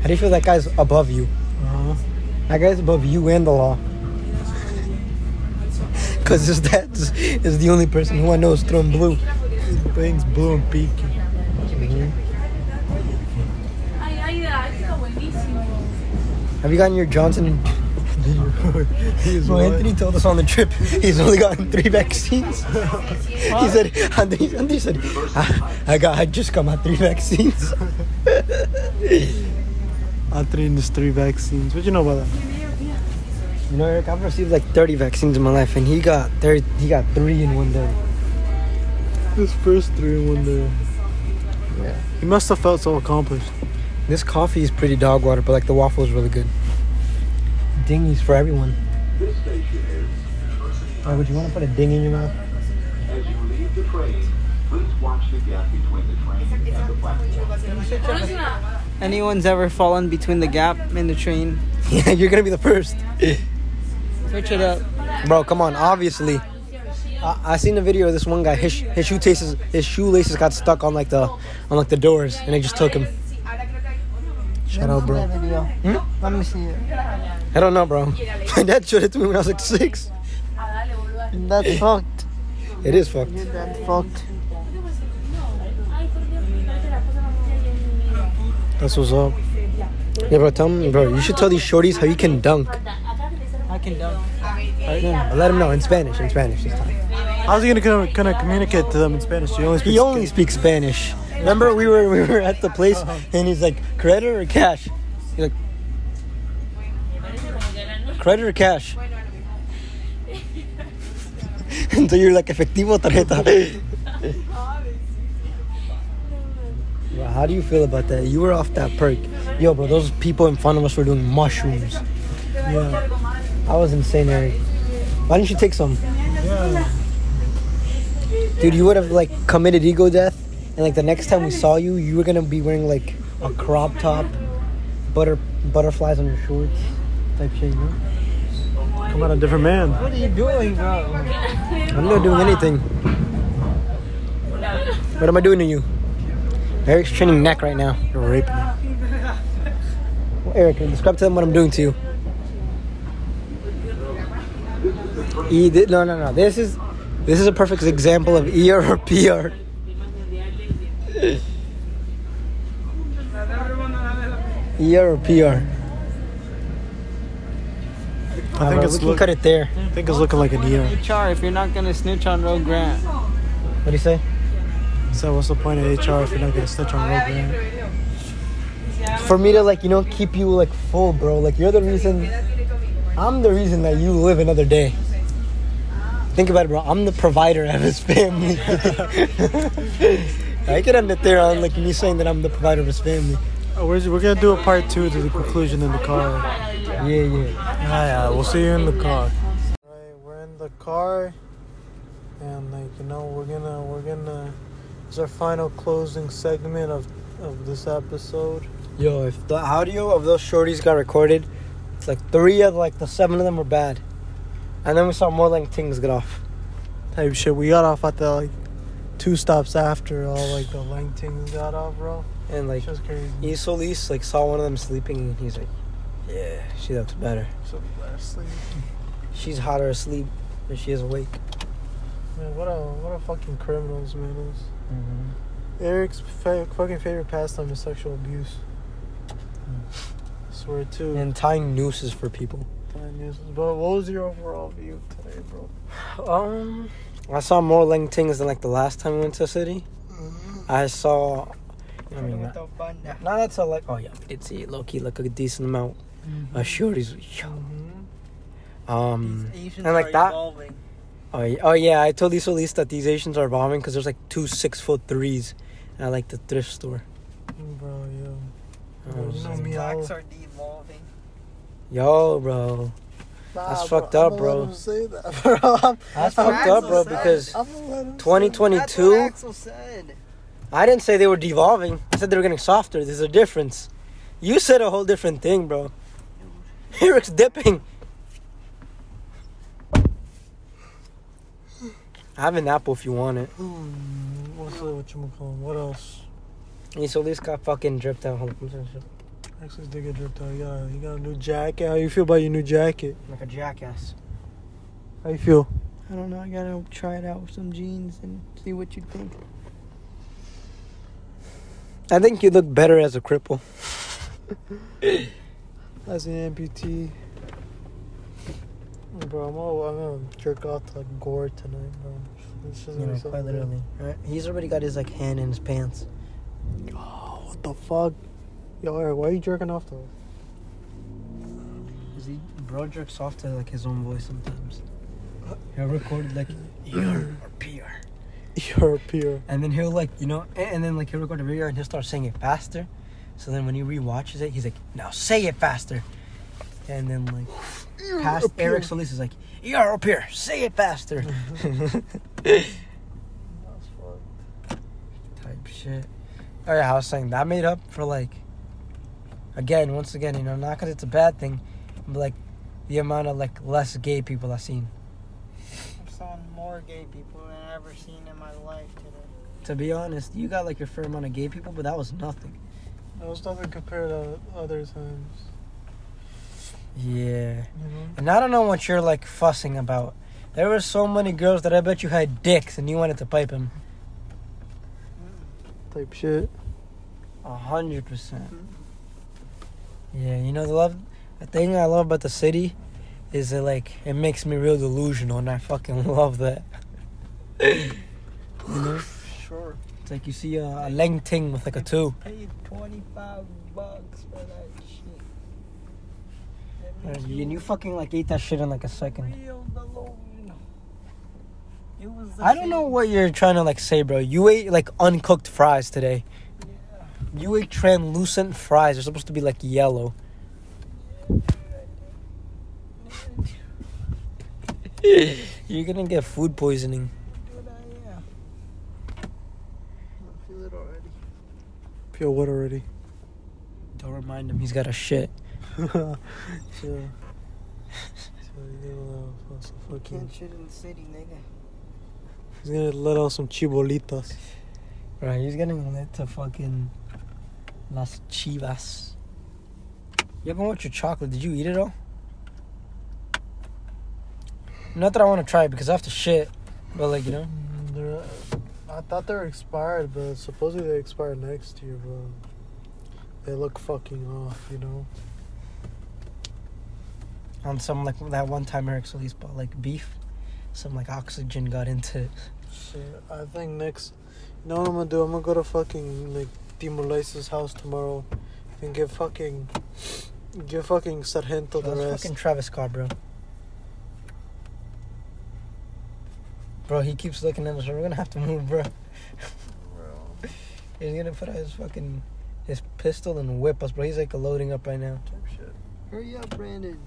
S5: How do you feel that guy's above you?
S4: Uh-huh.
S5: That guy's above you and the law. Cause his dad is- is the only person who I know is throwing blue.
S4: Things blue and peaky.
S5: Have you gotten your Johnson and
S4: he's
S5: Well, Anthony told us on the trip he's only gotten three vaccines. he said, Anthony, Anthony said, I, I got, I just got my three vaccines.
S4: Atrin's three vaccines. What you know about that?
S5: You know, Eric, I've received like 30 vaccines in my life, and he got 30, he got three in one day.
S4: His first three in one day. Yeah. He must have felt so accomplished.
S5: This coffee is pretty dog water, but like the waffle is really good. Dingies for everyone. Alright, would you want to put a ding in your mouth?
S15: As you leave the train, please watch the gap between the train and the platform.
S7: Anyone's ever fallen between the gap and the train?
S5: Yeah, you're gonna be the first.
S7: Switch it up.
S5: Bro, come on. Obviously, I, I seen the video of this one guy. His sh- his shoelaces his shoelaces got stuck on like the on like the doors, and they just took him. Shout out, bro.
S7: Video. Let me see it.
S5: I don't know, bro. My dad showed it to me when I was like six.
S7: That's fucked.
S5: It is fucked.
S7: That's fucked.
S5: That's what's up. Yeah, bro. Tell me, bro. You should tell these shorties how you can dunk.
S7: I can dunk.
S5: I let him know in Spanish. In Spanish this time.
S4: How's he gonna gonna, gonna communicate to them in Spanish? He only speaks.
S5: He only speaks Spanish. Remember, we were we were at the place, and he's like, credit or cash? He's like, credit or cash? and so you're like, efectivo tarjeta. Bro, how do you feel about that? You were off that perk, yo, bro. Those people in front of us were doing mushrooms.
S4: Yeah.
S5: I was insane, Eric. Why didn't you take some? Dude, you would have like committed ego death, and like the next time we saw you, you were gonna be wearing like a crop top, butter butterflies on your shorts, type shit. You know?
S4: Come out a different man.
S7: What are you doing, bro?
S5: I'm not doing anything. What am I doing to you? Eric's training neck right now.
S4: You're raping. me.
S5: Well, Eric, describe to them what I'm doing to you. E, thi- no, no, no. This is this is a perfect example of ER or PR. ER or PR.
S4: I think it's
S5: we can
S4: look-
S5: cut it there.
S4: I think it's looking like an ER.
S7: HR if you're not gonna snitch on Roe Grant.
S5: What do you say?
S4: So what's the point of HR if you're not gonna snitch on Rogue? Man?
S5: For me to like, you know, keep you like full, bro. Like you're the reason. I'm the reason that you live another day. Think about it, bro. I'm the provider of his family. I could end it there on like me saying that I'm the provider of his family.
S4: Oh, we're, we're gonna do a part two to the conclusion in the car.
S5: Yeah, yeah.
S4: Yeah, yeah, we'll see you in the car. Alright, we're in the car and like you know we're gonna we're gonna it's our final closing segment of of this episode.
S5: Yo, if the audio of those shorties got recorded, it's like three of like the seven of them were bad, and then we saw more like things get off.
S4: Type shit. We got off at the like two stops after all like the Langtings got off, bro.
S5: And like
S4: It's just crazy.
S5: Isolis like saw one of them sleeping, and he's like, "Yeah, she looks better.
S4: So lastly,
S5: She's hotter asleep than she is awake."
S4: man, what a what a fucking criminals man is.
S5: Mm-hmm.
S4: Eric's fa- fucking favorite pastime is sexual abuse. Swear to.
S5: And tying nooses for people.
S4: But what was your overall view today, bro?
S5: Um, I saw more Lang Tings than like the last time we went to the city. I saw. I mean, Mm-hmm. not, now that's a like. Oh yeah, we did see low key like a decent amount. of shorties. Yo. Um, and like that. Oh yeah, oh yeah, I told Isolis that these Asians are bombing because there's like two six foot threes, and I like the thrift store.
S4: Mm, Bro, yo.
S5: I
S4: Bro,
S5: was
S4: you know
S5: like,
S4: me, I was-
S7: are devolving.
S5: Yo, bro,
S4: Nah,
S5: fucked
S4: bro,
S5: up,
S4: I'ma
S5: bro.
S4: let him say that, bro. I'm-
S5: that's
S4: I'm-
S5: fucked up, bro. Because
S4: I'ma let him say
S5: 2022,
S7: Axel said.
S5: I didn't say they were devolving. I said they were getting softer. There's a difference. You said a whole different thing, bro. Eric's dipping. I have an apple if you want it.
S4: it. Hmm, What's up? What you call What else?
S5: Isolis got fucking dripped out. Hold on.
S4: Actually, this nigga dripped out. He got, he got a new jacket. How you feel about your new jacket?
S5: Like a jackass.
S4: How you feel?
S7: I don't know. I gotta try it out with some jeans and see what you think.
S5: I think you look better as a cripple.
S4: As an amputee. Bro, I'm, all, I'm gonna jerk off to like gore tonight, bro. This is
S5: You know, quite literally. Right? He's already got his like hand in his pants.
S4: Oh, what the fuck? Yo, Eric, why are you jerking off though?
S5: Is he bro jerks off to like his own voice sometimes. He'll record like E ear or PR.
S4: You're a peer.
S5: And then he'll like you know a- and then like he'll record a video and he'll start saying it faster. So then when he rewatches it, he's like, now say it faster. And then like past Eric Solis is like, ER up here, say it faster.
S4: That's fucked.
S5: type shit. Oh yeah, I was saying that made up for like again, once again, you know, not because it's a bad thing, but like the amount of like less gay people I've seen.
S7: I've seen more gay people than I've ever seen in my life today.
S5: To be honest, you got like a fair amount of gay people, but that was nothing.
S4: That was nothing compared to other times.
S5: Yeah. And I don't know what you're like fussing about. There were so many girls that I bet you had dicks and you wanted to pipe him.
S4: Type shit.
S5: A hundred percent. Yeah, you know the love. The thing I love about the city is that like it makes me real delusional, and I fucking love that. you know,
S7: Sure.
S5: it's like you see a, a Leng Ting with like a two.
S7: Paid 25 bucks for that shit.
S5: And you fucking like ate that shit in like a second.
S7: Real balloon. It was the
S5: I don't know what you're trying to like say, bro. You ate like uncooked fries today. You ate translucent fries. They're supposed to be like yellow. you're gonna get food poisoning.
S4: Pure wood already.
S5: Don't remind him he's got a shit.
S4: so, so you gotta allow for some fucking.
S7: Can't shit in the city, nigga.
S4: He's gonna let out some chibolitas.
S5: Right, he's getting lit to fucking Las Chivas. You haven't watched your chocolate. Did you eat it all? Not that I want to try it because I have to shit, but like you know,
S4: Mm, they're- I thought they were expired, but supposedly they expire next year, but they look fucking off, you know?
S5: on some like that one time Eric Solis bought like beef, some like oxygen got into it.
S4: Shit, I think next. You know what I'm gonna do? I'm gonna go to fucking, like, Timor-Leste's house tomorrow and get fucking. Give fucking Sargento the
S5: That's
S4: rest.
S5: fucking Travis Scott, bro. Bro, he keeps looking at us. We're gonna have to move, bro. He's gonna put out his fucking his pistol and whip us, bro. He's like loading up right now.
S7: Hurry up, Brandon.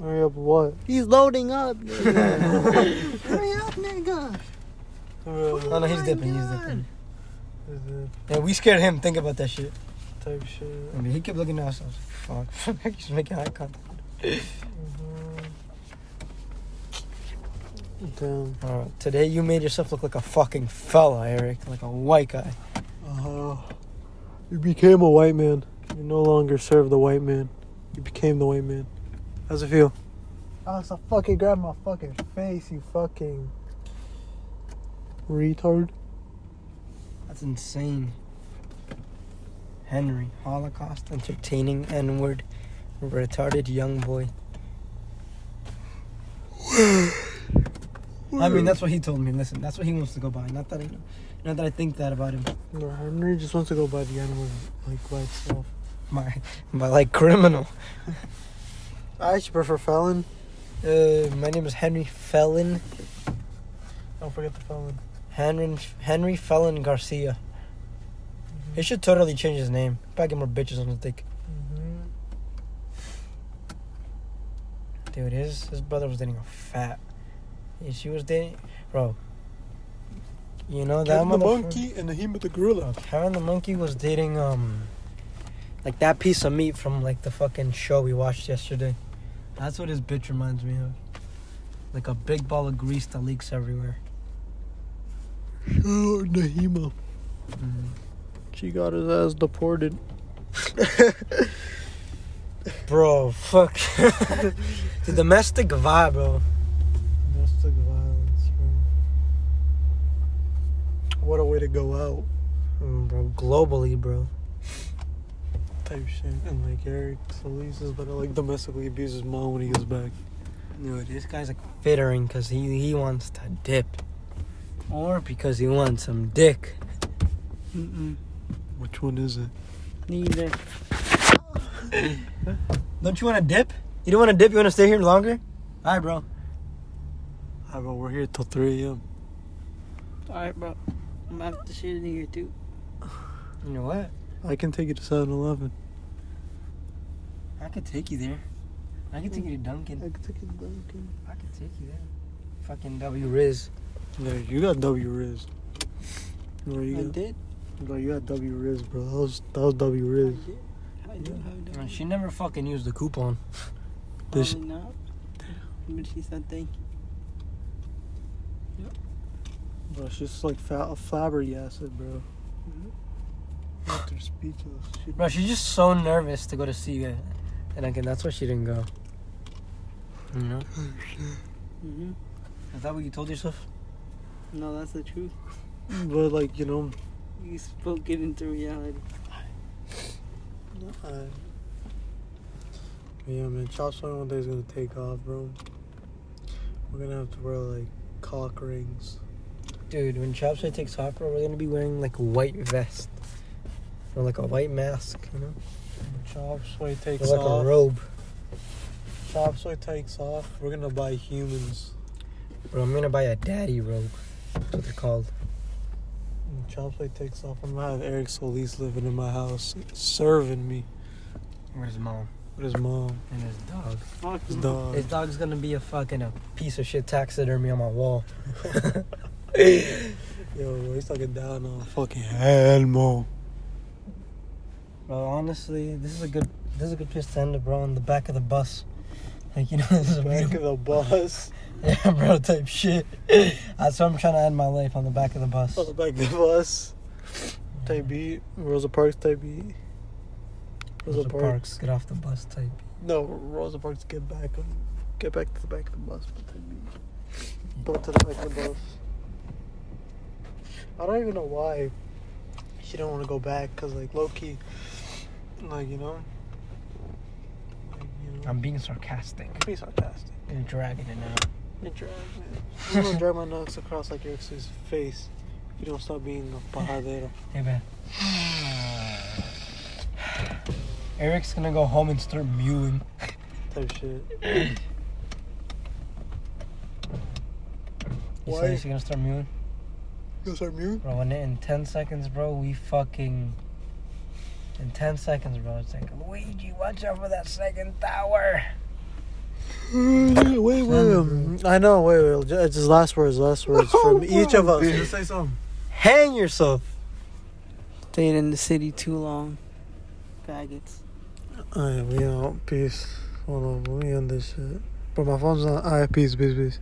S4: Hurry up, what?
S7: He's loading up. nigga. Hurry up, nigga.
S4: Hurry up,
S5: Oh no, he's
S7: my
S5: dipping. He's
S7: God.
S5: dipping.
S4: is it
S5: Yeah, we scared him. Think about that shit.
S4: Type shit.
S5: I mean, he kept looking at us. I was like, fuck. he's making eye contact.
S4: Damn.
S5: Bro, today you made yourself look like a fucking fella, Eric. Like a white guy.
S4: Uh, you became a white man. You no longer serve the white man. You became the white man. How's it feel?
S7: Oh, so fucking grab my fucking face, you fucking.
S4: Retard?
S5: That's insane. Henry, Holocaust, entertaining N word, retarded young boy. I mean, that's what he told me. Listen, that's what he wants to go by. Not that I, not that I think that about him.
S4: No, Henry just wants to go by the animal like by itself.
S5: My, my like criminal.
S4: I actually prefer Fallon.
S5: Uh, my name is Henry Felon.
S4: Don't forget the Fallon.
S5: Henry Henry Felon Garcia.
S4: Mm-hmm.
S5: He should totally change his name. Probably get more bitches on the dick.
S4: Mm-hmm.
S5: Dude, his his brother was dating a fat. Yeah, she was dating, bro. You know that
S4: Kevin the
S5: motherfucker-
S4: monkey and the him with the gorilla.
S5: Bro, Karen the monkey was dating um, like that piece of meat from like the fucking show we watched yesterday. That's what his bitch reminds me of. Like a big ball of grease that leaks everywhere.
S4: Oh, Nahima. Mm-hmm. She got his ass deported.
S5: Bro, fuck. the domestic vibe, bro.
S4: Domestic violence, bro. What a way to go out.
S5: Mm, bro, globally, bro.
S4: Type shit. And like Eric Solis is gonna like domestically abuse his mom when he gets back.
S5: Dude, this guy's like fittering because he, he wants to dip. Or because he wants some dick.
S7: Mm-mm.
S4: Which one is it?
S7: Neither.
S5: Don't you want to dip? You don't want to dip? You want to stay here longer? All right, bro.
S4: How about we're here till 3 a.m.?
S7: Alright, bro. I'm gonna have to shit in here, too.
S5: You know what?
S4: I can take you to 7 Eleven.
S5: I could take you there. I could take you to Duncan.
S4: can take you to Dunkin'.
S5: I could take you there. Fucking W Riz.
S4: No, you got W Riz. No,
S7: I
S4: you got,
S7: did.
S4: bro, you got W Riz, bro. That was, that was W Riz.
S7: I did. I did.
S5: She never fucking used the coupon.
S4: This-
S7: Probably not. But she said thank you.
S4: Bro, she's just like fa- flabbergasted, bro. After speechless. She-
S5: Bro, she's just so nervous to go to see it. And again, that's why she didn't go. You know?
S7: Mm-hmm.
S5: Is that what you told yourself?
S7: No, that's the truth.
S4: But like, you know,
S7: You spoke it into reality.
S4: I, yeah, man, chop suey one day is gonna take off, bro. We're gonna have to wear like cock rings.
S5: Dude, when Chop Suey takes off, bro, we're gonna be wearing like a white vest. Or like a white mask, you know?
S4: Chop suey takes
S5: Or like
S4: off.
S5: a robe.
S4: Chop suey takes off. We're gonna buy humans.
S5: Bro, I'm gonna buy a daddy robe. That's what they're called.
S4: When chop suey takes off. I'm gonna have Eric Solis living in my house, serving me
S5: Where's mom?
S4: with his mom,
S5: And his dog.
S7: Fuck.
S4: his dog.
S5: His dog's gonna be a fucking a piece of shit taxidermy on my wall.
S4: Yo, bro, he's talking down on fucking Elmo.
S5: Well, honestly, this is a good this is a good place to end it, bro. On the back of the bus, like you know, this is a
S4: Back of
S5: beautiful,
S4: the bus.
S5: yeah, bro, type shit. That's what I'm trying to end my life on the back of the bus.
S4: On Oh, the back of the bus. Type B. Rosa Parks type B. Rosa,
S5: Rosa
S4: Parks.
S5: Parks, get off the bus, type.
S4: No, Rosa Parks get back on get back to the back of the bus. but type B. Go to the back of the bus. I don't even know why she don't want to go back because like low key, like you know, like, you know
S5: I'm being sarcastic.
S4: be sarcastic.
S5: and dragging it out.
S4: You drag my- I'm gonna drag my nuts across like your ex's face if you don't stop being a pajadero.
S5: Hey, man. Eric's gonna go home and start mewing.
S4: type shit.
S5: You
S4: Why?
S5: said he's gonna start mewing,
S4: You start mute?
S5: bro. When in ten seconds, bro, we fucking. In ten seconds, bro, it's like Luigi, watch out for that second tower.
S4: wait, wait. um, I know. Wait, wait. ju- Just last words. Last words from each of us. Just say something.
S5: Hang yourself.
S7: Stayed in the city too long. Faggots.
S4: Alright, we out. Peace. Hold on. Let me end this shit. But my phone's on. Alright, peace, peace, peace.